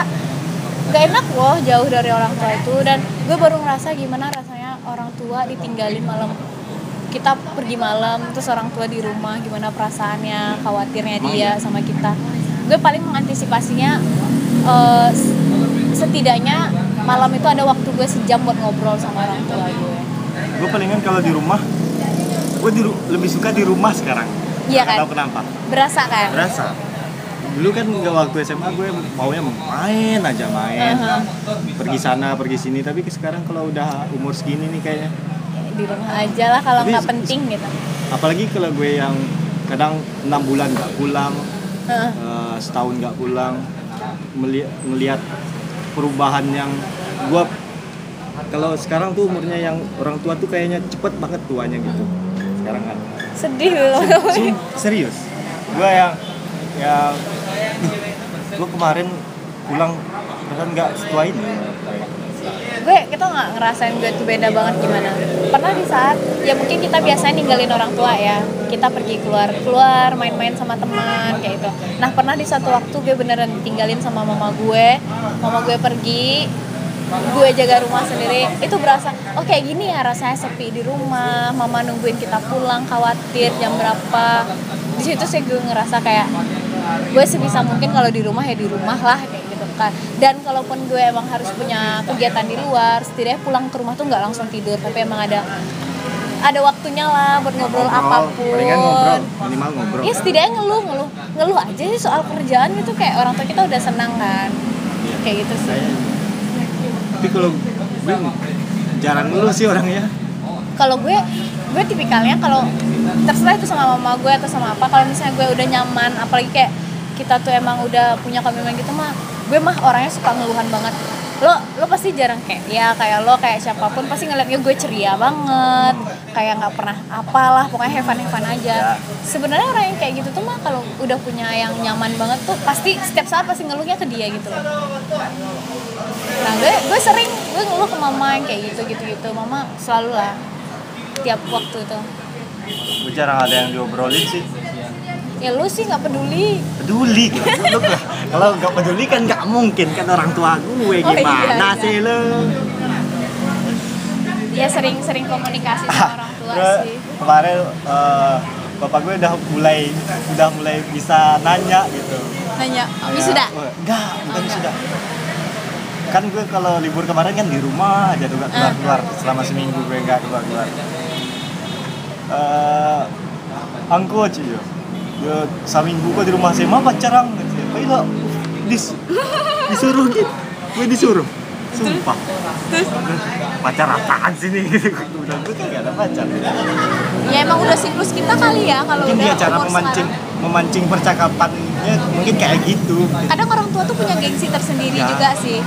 Speaker 2: gak enak loh jauh dari orang tua itu dan gue baru ngerasa gimana rasanya orang tua ditinggalin malam kita pergi malam terus orang tua di rumah gimana perasaannya khawatirnya
Speaker 1: Iya.
Speaker 2: dia sama kita gue paling mengantisipasinya eh, s- setidaknya malam itu ada waktu gue sejam buat ngobrol sama orang tua gue
Speaker 1: gue palingan kalau di rumah gue di ru- lebih suka di rumah sekarang Nggak
Speaker 2: Iya kan?
Speaker 1: tahu kenapa
Speaker 2: berasa kan
Speaker 1: berasa dulu kan nggak waktu SMA gue maunya main aja main
Speaker 2: Aha.
Speaker 1: pergi sana pergi sini tapi sekarang kalau udah umur segini nih kayaknya
Speaker 2: di rumah aja lah kalau
Speaker 1: Tapi
Speaker 2: nggak
Speaker 1: se-
Speaker 2: penting gitu
Speaker 1: apalagi kalau gue yang kadang enam bulan nggak pulang
Speaker 2: Heeh.
Speaker 1: eh, setahun nggak pulang meli- melihat perubahan yang gue kalau sekarang tuh umurnya yang orang tua tuh kayaknya cepet banget tuanya gitu sekarang kan
Speaker 2: sedih loh
Speaker 1: Sum- serius gue yang ya gue kemarin pulang kan nggak setua ini
Speaker 2: gue kita nggak ngerasain gue tuh beda banget gimana pernah di saat ya mungkin kita biasanya ninggalin orang tua ya kita pergi keluar keluar main-main sama teman kayak gitu nah pernah di satu waktu gue beneran ditinggalin sama mama gue mama gue pergi gue jaga rumah sendiri itu berasa oh kayak gini ya rasanya sepi di rumah mama nungguin kita pulang khawatir jam berapa di situ sih gue ngerasa kayak gue sebisa mungkin kalau di rumah ya di rumah lah kayak gitu kan dan kalaupun gue emang harus punya kegiatan di luar setidaknya pulang ke rumah tuh nggak langsung tidur tapi emang ada ada waktunya lah buat ngobrol, apapun
Speaker 1: palingan ngobrol minimal ngobrol
Speaker 2: ya setidaknya ngeluh ngeluh ngeluh aja sih soal kerjaan gitu kayak orang tua kita udah senang kan
Speaker 1: Iya.
Speaker 2: kayak gitu sih
Speaker 1: Kayaknya. tapi kalau gue jarang dulu sih orangnya
Speaker 2: kalau gue gue tipikalnya kalau terserah itu sama mama gue atau sama apa kalau misalnya gue udah nyaman apalagi kayak kita tuh emang udah punya komitmen gitu mah gue mah orangnya suka ngeluhan banget lo lo pasti jarang kayak ya kayak lo kayak siapapun pasti ngeliatnya gue ceria banget kayak nggak pernah apalah pokoknya have fun have fun aja sebenarnya orang yang kayak gitu tuh mah kalau udah punya yang nyaman banget tuh pasti setiap saat pasti ngeluhnya ke dia gitu loh nah gue gue sering gue ngeluh ke mama yang kayak gitu gitu gitu mama selalu lah tiap waktu itu
Speaker 1: gue jarang ada yang diobrolin sih
Speaker 2: ya lu sih nggak peduli
Speaker 1: peduli gitu. Lu nggak- kalau nggak peduli kan nggak mungkin kan orang tua gue
Speaker 2: Oh, iya,
Speaker 1: gimana
Speaker 2: iya.
Speaker 1: sih lo
Speaker 2: ya sering-sering komunikasi
Speaker 1: Ah,
Speaker 2: sama orang tua
Speaker 1: Terus
Speaker 2: sih
Speaker 1: kemarin eh, bapak gue udah mulai udah mulai bisa nanya gitu Ya,
Speaker 2: nanya kami sudah
Speaker 1: wah, Enggak, bukan
Speaker 2: enggak.
Speaker 1: sudah. Kan gue kalau libur kemarin kan di rumah aja tuh nggak
Speaker 2: Ah,
Speaker 1: keluar-keluar selama seminggu gue nggak keluar-keluar. Eh, angko aja ya. Ya, seminggu gue di rumah saya mah pacarang gitu. Pai lo dis disuruh gitu. gue disuruh sumpah
Speaker 2: terus
Speaker 1: pacar apaan sih nih gitu gue bilang gue tuh gak ada pacar
Speaker 2: ya emang udah siklus kita kali ya kalau
Speaker 1: mungkin
Speaker 2: udah
Speaker 1: dia cara
Speaker 2: umur
Speaker 1: memancing
Speaker 2: sekarang.
Speaker 1: memancing percakapannya mungkin kayak gitu
Speaker 2: kadang orang tua tuh punya gengsi tersendiri
Speaker 1: Ya.
Speaker 2: juga sih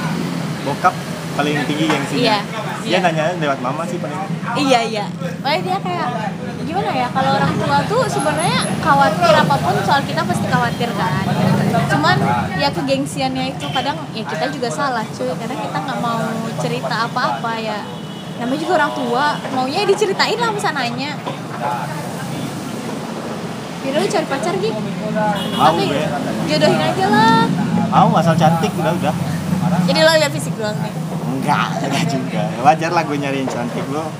Speaker 1: bokap paling tinggi yang sini
Speaker 2: Iya.
Speaker 1: dia
Speaker 2: Iya.
Speaker 1: nanya lewat mama sih paling
Speaker 2: Iya iya. Makanya dia kayak gimana ya kalau orang tua tuh sebenarnya khawatir apapun soal kita pasti khawatir kan. Cuman ya kegengsiannya itu kadang ya kita juga salah cuy karena kita nggak mau cerita apa-apa ya. Namanya juga orang tua maunya ya diceritain lah pesanannya. Biro lu cari pacar gitu.
Speaker 1: Mau
Speaker 2: Tapi
Speaker 1: gue.
Speaker 2: jodohin aja lah.
Speaker 1: mau asal cantik udah udah
Speaker 2: Jadi lo lihat fisik doang nih.
Speaker 1: enggak [LAUGHS] enggak juga wajar lah gue nyariin cantik lo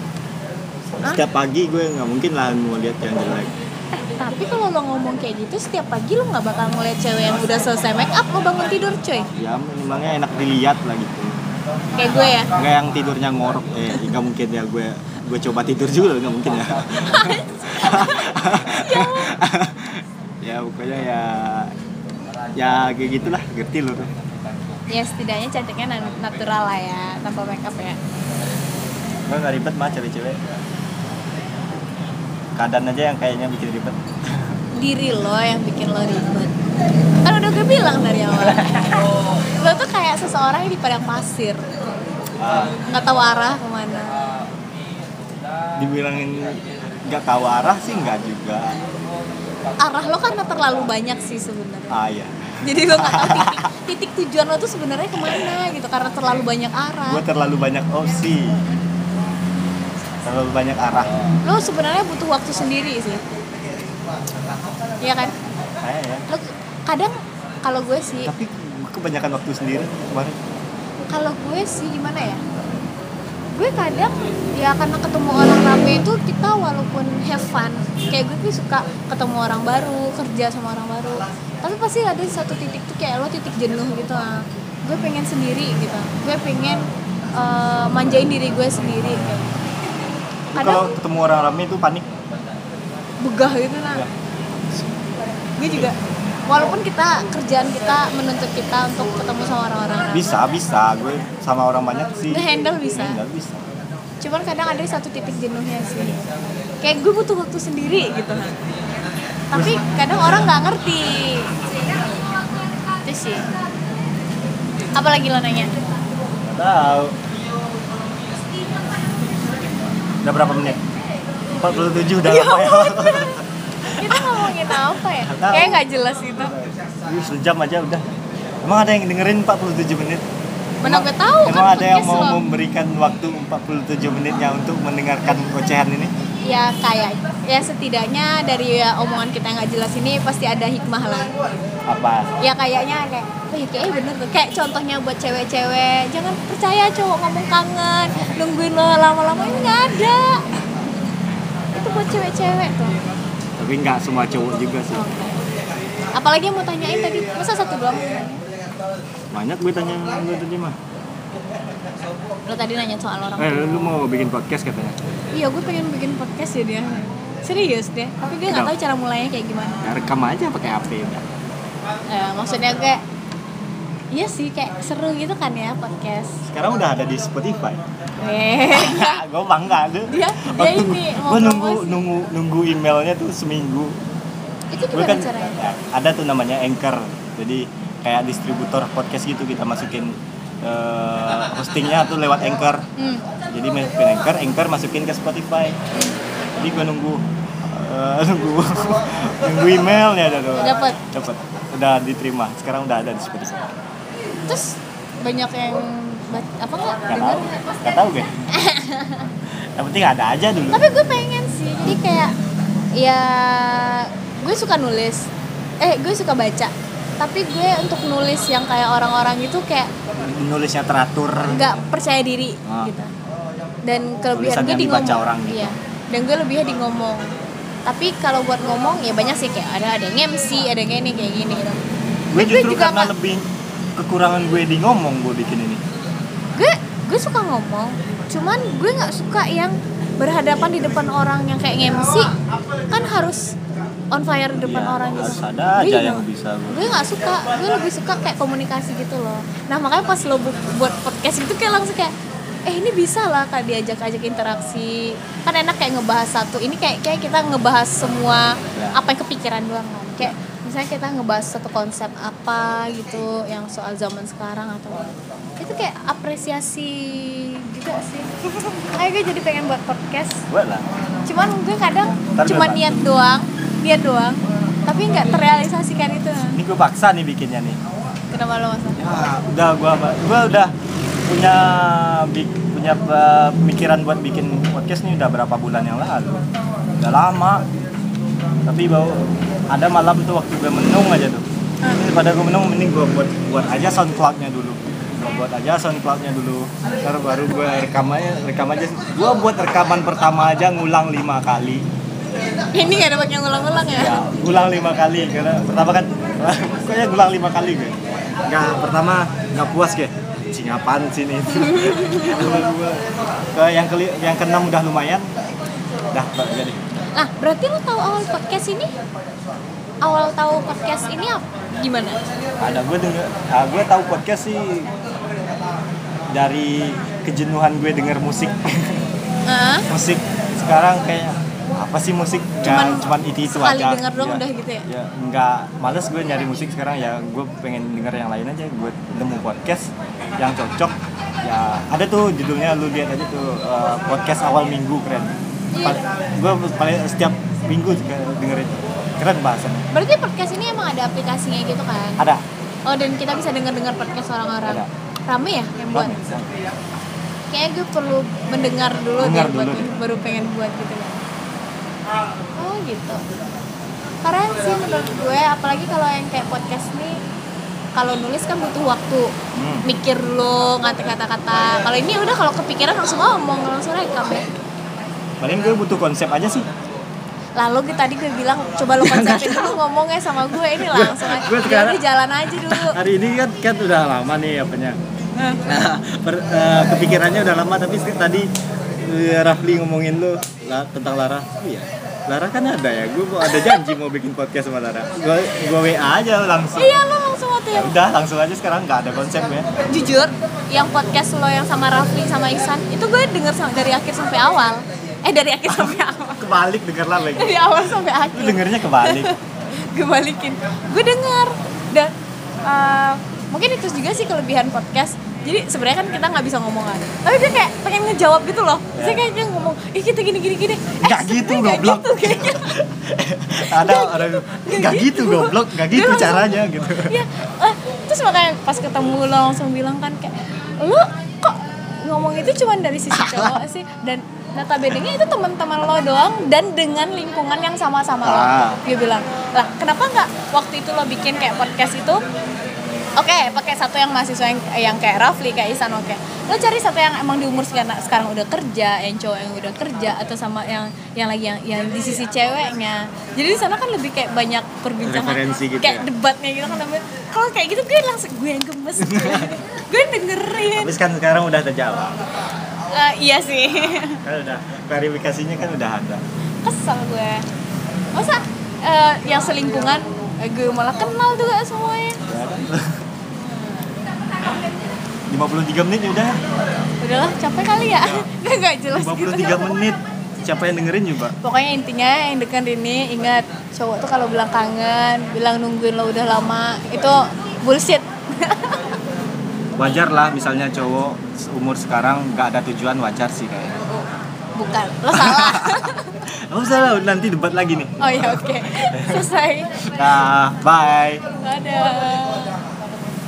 Speaker 1: setiap pagi gue nggak mungkin lah mau lihat yang jelek
Speaker 2: Eh, tapi kalau lo ngomong kayak gitu setiap pagi lo nggak bakal ngeliat cewek yang udah selesai make up lo bangun tidur cuy
Speaker 1: ya minimalnya enak dilihat lah gitu
Speaker 2: kayak gue ya
Speaker 1: enggak yang tidurnya ngorok eh enggak mungkin ya gue gue coba tidur juga enggak mungkin
Speaker 2: [LAUGHS]
Speaker 1: ya [LAUGHS] ya pokoknya ya ya kayak gitulah ngerti lo tuh
Speaker 2: ya setidaknya cantiknya nan- natural lah ya tanpa make up ya
Speaker 1: gue nggak ribet mah cewek-cewek keadaan aja yang kayaknya bikin ribet
Speaker 2: diri lo yang bikin lo ribet kan udah gue bilang dari awal lo tuh kayak seseorang yang di padang pasir
Speaker 1: Ah,
Speaker 2: nggak tahu arah kemana
Speaker 1: dibilangin nggak tahu arah sih nggak juga
Speaker 2: arah lo karena terlalu banyak sih sebenarnya
Speaker 1: ah ya
Speaker 2: jadi lo nggak tahu titik, titik tujuan lo tuh sebenarnya kemana gitu karena terlalu banyak arah
Speaker 1: gue terlalu banyak opsi terlalu banyak arah
Speaker 2: lo sebenarnya butuh waktu sendiri sih Iya kan
Speaker 1: kayak ya
Speaker 2: lo kadang kalau gue sih
Speaker 1: tapi gua kebanyakan waktu sendiri kemarin
Speaker 2: kalau gue sih gimana ya gue kadang ya karena ketemu orang rame itu kita walaupun have fun kayak gue tuh suka ketemu orang baru kerja sama orang baru tapi pasti ada satu titik tuh kayak lo titik jenuh gitu ah gue pengen sendiri gitu gue pengen eh, manjain diri gue sendiri kayak gitu.
Speaker 1: Lu kalau
Speaker 2: kadang
Speaker 1: ketemu orang rame itu panik
Speaker 2: begah gitu nah gue juga walaupun kita kerjaan kita menuntut kita untuk ketemu sama orang-orang rame.
Speaker 1: bisa bisa gue sama orang banyak sih
Speaker 2: Ngehandle bisa.
Speaker 1: Ngehandle bisa
Speaker 2: cuman kadang ada satu titik jenuhnya sih kayak gue butuh waktu sendiri gitu tapi kadang orang nggak ngerti itu sih apalagi lo nanya
Speaker 1: Nggak tahu udah berapa menit 47 udah lama ya
Speaker 2: kita ngomongin apa ya
Speaker 1: Nggak tahu.
Speaker 2: kayak nggak jelas gitu
Speaker 1: Ih, sejam aja udah emang ada yang dengerin 47 menit
Speaker 2: mana gue tahu kan
Speaker 1: Emang ada yang
Speaker 2: podcast
Speaker 1: mau
Speaker 2: lo.
Speaker 1: memberikan waktu 47 menitnya untuk mendengarkan ocehan ini?
Speaker 2: ya kayak ya setidaknya dari ya, omongan kita yang nggak jelas ini pasti ada hikmah lah
Speaker 1: Apa?
Speaker 2: ya kayaknya kayak oh ya kayaknya bener tuh kayak contohnya buat cewek-cewek jangan percaya cowok ngomong kangen nungguin lo lama-lama ini nggak ada itu buat cewek-cewek tuh
Speaker 1: Tapi nggak semua cowok juga sih.
Speaker 2: Oke. apalagi yang mau tanyain tadi masa satu doang
Speaker 1: Banyak gue tanya lu tadi mah.
Speaker 2: lo tadi nanya soal orang
Speaker 1: Eh,
Speaker 2: tua.
Speaker 1: lu mau bikin podcast katanya?
Speaker 2: iya gue pengen bikin podcast ya dia serius deh tapi gue nggak tahu cara mulainya kayak gimana
Speaker 1: Ya, rekam aja pakai HP udah.
Speaker 2: Eh, maksudnya kayak iya sih kayak seru gitu kan ya podcast
Speaker 1: Sekarang udah ada di Spotify. [LAUGHS]
Speaker 2: eh
Speaker 1: gue bangga tuh.
Speaker 2: Dia- Iya, dia ini mau
Speaker 1: Gue nunggu
Speaker 2: promosi.
Speaker 1: nunggu nunggu emailnya tuh seminggu.
Speaker 2: itu
Speaker 1: Gue
Speaker 2: gimana
Speaker 1: kan
Speaker 2: caranya
Speaker 1: ya, ada tuh namanya Anchor. Jadi kayak distributor podcast gitu kita masukin eh, hostingnya tuh lewat Anchor.
Speaker 2: hmm.
Speaker 1: jadi masukin anchor anchor masukin ke Spotify jadi gue nunggu eh, [LAUGHS] nunggu nunggu email ya ada tuh
Speaker 2: Dapet.
Speaker 1: dapat udah diterima sekarang udah ada di Spotify
Speaker 2: terus banyak yang bat- apa nggak
Speaker 1: nggak
Speaker 2: dengar
Speaker 1: tahu nggak tahu
Speaker 2: [LAUGHS]
Speaker 1: gue yang penting ada aja dulu
Speaker 2: tapi gue pengen sih jadi kayak ya gue suka nulis eh gue suka baca tapi gue untuk nulis yang kayak orang-orang itu kayak
Speaker 1: nulisnya teratur
Speaker 2: nggak percaya diri
Speaker 1: Ah.
Speaker 2: gitu dan kelebihan
Speaker 1: Tulisan
Speaker 2: gue
Speaker 1: yang
Speaker 2: di
Speaker 1: dibaca
Speaker 2: ngomong
Speaker 1: orang gitu.
Speaker 2: iya dan gue lebihnya di ngomong tapi kalau buat ngomong ya banyak sih kayak ada ada yang MC ada yang ini kayak gini gitu.
Speaker 1: gue
Speaker 2: Tapi
Speaker 1: justru
Speaker 2: juga
Speaker 1: karena
Speaker 2: nggak-
Speaker 1: lebih kekurangan gue di ngomong gue bikin ini
Speaker 2: gue gue suka ngomong cuman gue nggak suka yang berhadapan di depan orang yang kayak MC kan harus on fire depan
Speaker 1: Iya,
Speaker 2: orang gitu
Speaker 1: harus ada aja
Speaker 2: Gue juga-
Speaker 1: yang bisa gua.
Speaker 2: gue nggak suka gue lebih suka kayak komunikasi gitu loh nah makanya pas lo bu- buat podcast itu kayak langsung kayak eh ini bisa lah kan diajak-ajak interaksi kan enak kayak ngebahas satu ini kayak kayak kita ngebahas semua
Speaker 1: Ya.
Speaker 2: apa yang kepikiran doang kan kayak misalnya kita ngebahas satu konsep apa gitu yang soal zaman sekarang atau apa. itu kayak apresiasi juga sih kayak gue jadi pengen buat podcast
Speaker 1: buat lah
Speaker 2: cuman gue kadang
Speaker 1: Ntar
Speaker 2: cuma
Speaker 1: dulu, Pak.
Speaker 2: niat doang niat doang tapi nggak terrealisasikan itu
Speaker 1: ini gue paksa nih bikinnya nih
Speaker 2: kenapa lo masalah
Speaker 1: ya, udah gue gue udah punya bik- punya eh, pemikiran buat bikin podcast nih udah berapa bulan yang lalu udah lama tapi bau ada malam tuh waktu gue menung aja tuh
Speaker 2: Ah.
Speaker 1: daripada gue menung mending gue buat buat aja soundcloudnya dulu gue buat aja soundcloudnya dulu ntar baru gue rekam aja rekam aja gue buat rekaman pertama aja ngulang lima kali
Speaker 2: [LAUGHS] ini gak ada yang ulang-ulang ya
Speaker 1: ya ulang lima kali karena pertama kan kayaknya ulang lima kali gue nggak pertama nggak puas gue cing apaan sih ini ke yang keli yang keenam udah lumayan dah Mbak, jadi
Speaker 2: nah berarti lo tahu awal podcast ini awal tahu podcast ini apa? gimana
Speaker 1: ada gue denger ah, gue tahu podcast sih dari kejenuhan gue denger musik
Speaker 2: Hah?
Speaker 1: musik sekarang kayak apa sih musik Ya,
Speaker 2: Cuman
Speaker 1: cuman itu itu
Speaker 2: sekali
Speaker 1: aja
Speaker 2: denger doang
Speaker 1: Ya.
Speaker 2: udah gitu ya?
Speaker 1: ya nggak males gue nyari musik sekarang ya gue pengen denger yang lain aja gue nemu podcast yang cocok ya ada tuh judulnya lu lihat aja tuh eh, podcast awal minggu keren
Speaker 2: Iya.
Speaker 1: gue paling setiap minggu juga dengerin keren bahasannya
Speaker 2: berarti podcast ini emang ada aplikasinya gitu kan
Speaker 1: ada
Speaker 2: oh dan kita bisa dengar-dengar podcast orang-orang
Speaker 1: Ada.
Speaker 2: rame ya yang buat
Speaker 1: Belum?
Speaker 2: kayaknya gue perlu mendengar dulu
Speaker 1: Dengar
Speaker 2: deh buat
Speaker 1: dulu deh.
Speaker 2: baru pengen buat gitu kan oh gitu keren sih menurut gue apalagi kalau yang kayak podcast nih kalau nulis kan butuh waktu
Speaker 1: Hmm. Iya.
Speaker 2: mikir dulu ngata kata-kata kalau ini udah kalau kepikiran langsung ngomong langsung rekam ya
Speaker 1: paling gue butuh konsep aja sih
Speaker 2: lalu gue- tadi gue bilang coba lo
Speaker 1: [LAUGHS]
Speaker 2: konsepin dulu ngomongnya sama gue ini langsung aja
Speaker 1: gue
Speaker 2: Jadi
Speaker 1: sekarang-
Speaker 2: jalan aja
Speaker 1: [LAUGHS]
Speaker 2: dulu
Speaker 1: hari ini kan kan udah lama nih [LAUGHS] apanya nah per- eh, kepikirannya udah lama tapi sih tadi eh, Rafli ngomongin lu la- tentang Lara oh iya Lara kan ada ya gue ada janji mau bikin podcast sama Lara gue gue WA aja langsung
Speaker 2: iya lo langsung waktu
Speaker 1: Ya
Speaker 2: yang
Speaker 1: udah langsung aja sekarang nggak ada konsep ya
Speaker 2: jujur yang podcast lo yang sama Rafli sama Ihsan itu gue denger sam- dari akhir sampai awal eh dari akhir sampai [LAUGHS] awal
Speaker 1: kebalik denger lah lagi
Speaker 2: dari awal sampai
Speaker 1: lu
Speaker 2: akhir
Speaker 1: dengernya kebalik
Speaker 2: gue balikin gue denger dan eh, mungkin itu juga sih kelebihan podcast jadi sebenarnya kan kita nggak bisa ngomongan tapi dia kayak pengen ngejawab gitu loh Saya kayak dia ngomong ih kita gini gini gini eh,
Speaker 1: Nggak gitu,
Speaker 2: sebenarnya nggak
Speaker 1: goblok.
Speaker 2: gitu, kayaknya.
Speaker 1: ada orang nggak gitu goblok nggak gitu
Speaker 2: Dia langsung-
Speaker 1: caranya gitu
Speaker 2: Iya, eh, terus makanya pas ketemu lo langsung bilang kan kayak lo kok ngomong itu cuma dari
Speaker 1: [LAUGHS]
Speaker 2: sisi cowok sih dan notabene-nya itu teman-teman lo doang dan dengan lingkungan yang sama-sama lo.
Speaker 1: Ah.
Speaker 2: Dia bilang, lah kenapa nggak waktu itu lo bikin kayak podcast itu? Oke, pakai satu yang mahasiswa yang, eh, yang kayak Rafli, kayak Isan, oke. Lo cari satu yang emang di umur sekarang, sekarang udah kerja, yang cowok yang udah kerja, atau sama yang yang lagi yang, yang di sisi ceweknya. Jadi di sana kan lebih kayak banyak perbincangan,
Speaker 1: Referensi gitu
Speaker 2: kayak
Speaker 1: ya.
Speaker 2: debatnya gitu kan namanya kalau kayak gitu gue langsung gue yang gemes gue dengerin
Speaker 1: habis kan sekarang udah terjawab
Speaker 2: Eh, iya sih [LAUGHS]
Speaker 1: kan udah klarifikasinya kan udah ada
Speaker 2: kesel gue masa eh, yang selingkungan eh, gue malah kenal juga semuanya
Speaker 1: Ya. 53 menit ya udah
Speaker 2: udahlah capek kali [LAUGHS] ya gue gak jelas gitu
Speaker 1: 53 menit siapa yang dengerin juga
Speaker 2: pokoknya intinya yang dekat ini ingat cowok tuh kalau bilang kangen bilang nungguin lo udah lama itu bullshit
Speaker 1: wajar lah misalnya cowok umur sekarang nggak ada tujuan wajar sih kayaknya
Speaker 2: bukan lo salah iya,
Speaker 1: oh salah nanti debat lagi nih
Speaker 2: oh ya oke selesai
Speaker 1: nah bye
Speaker 2: dadah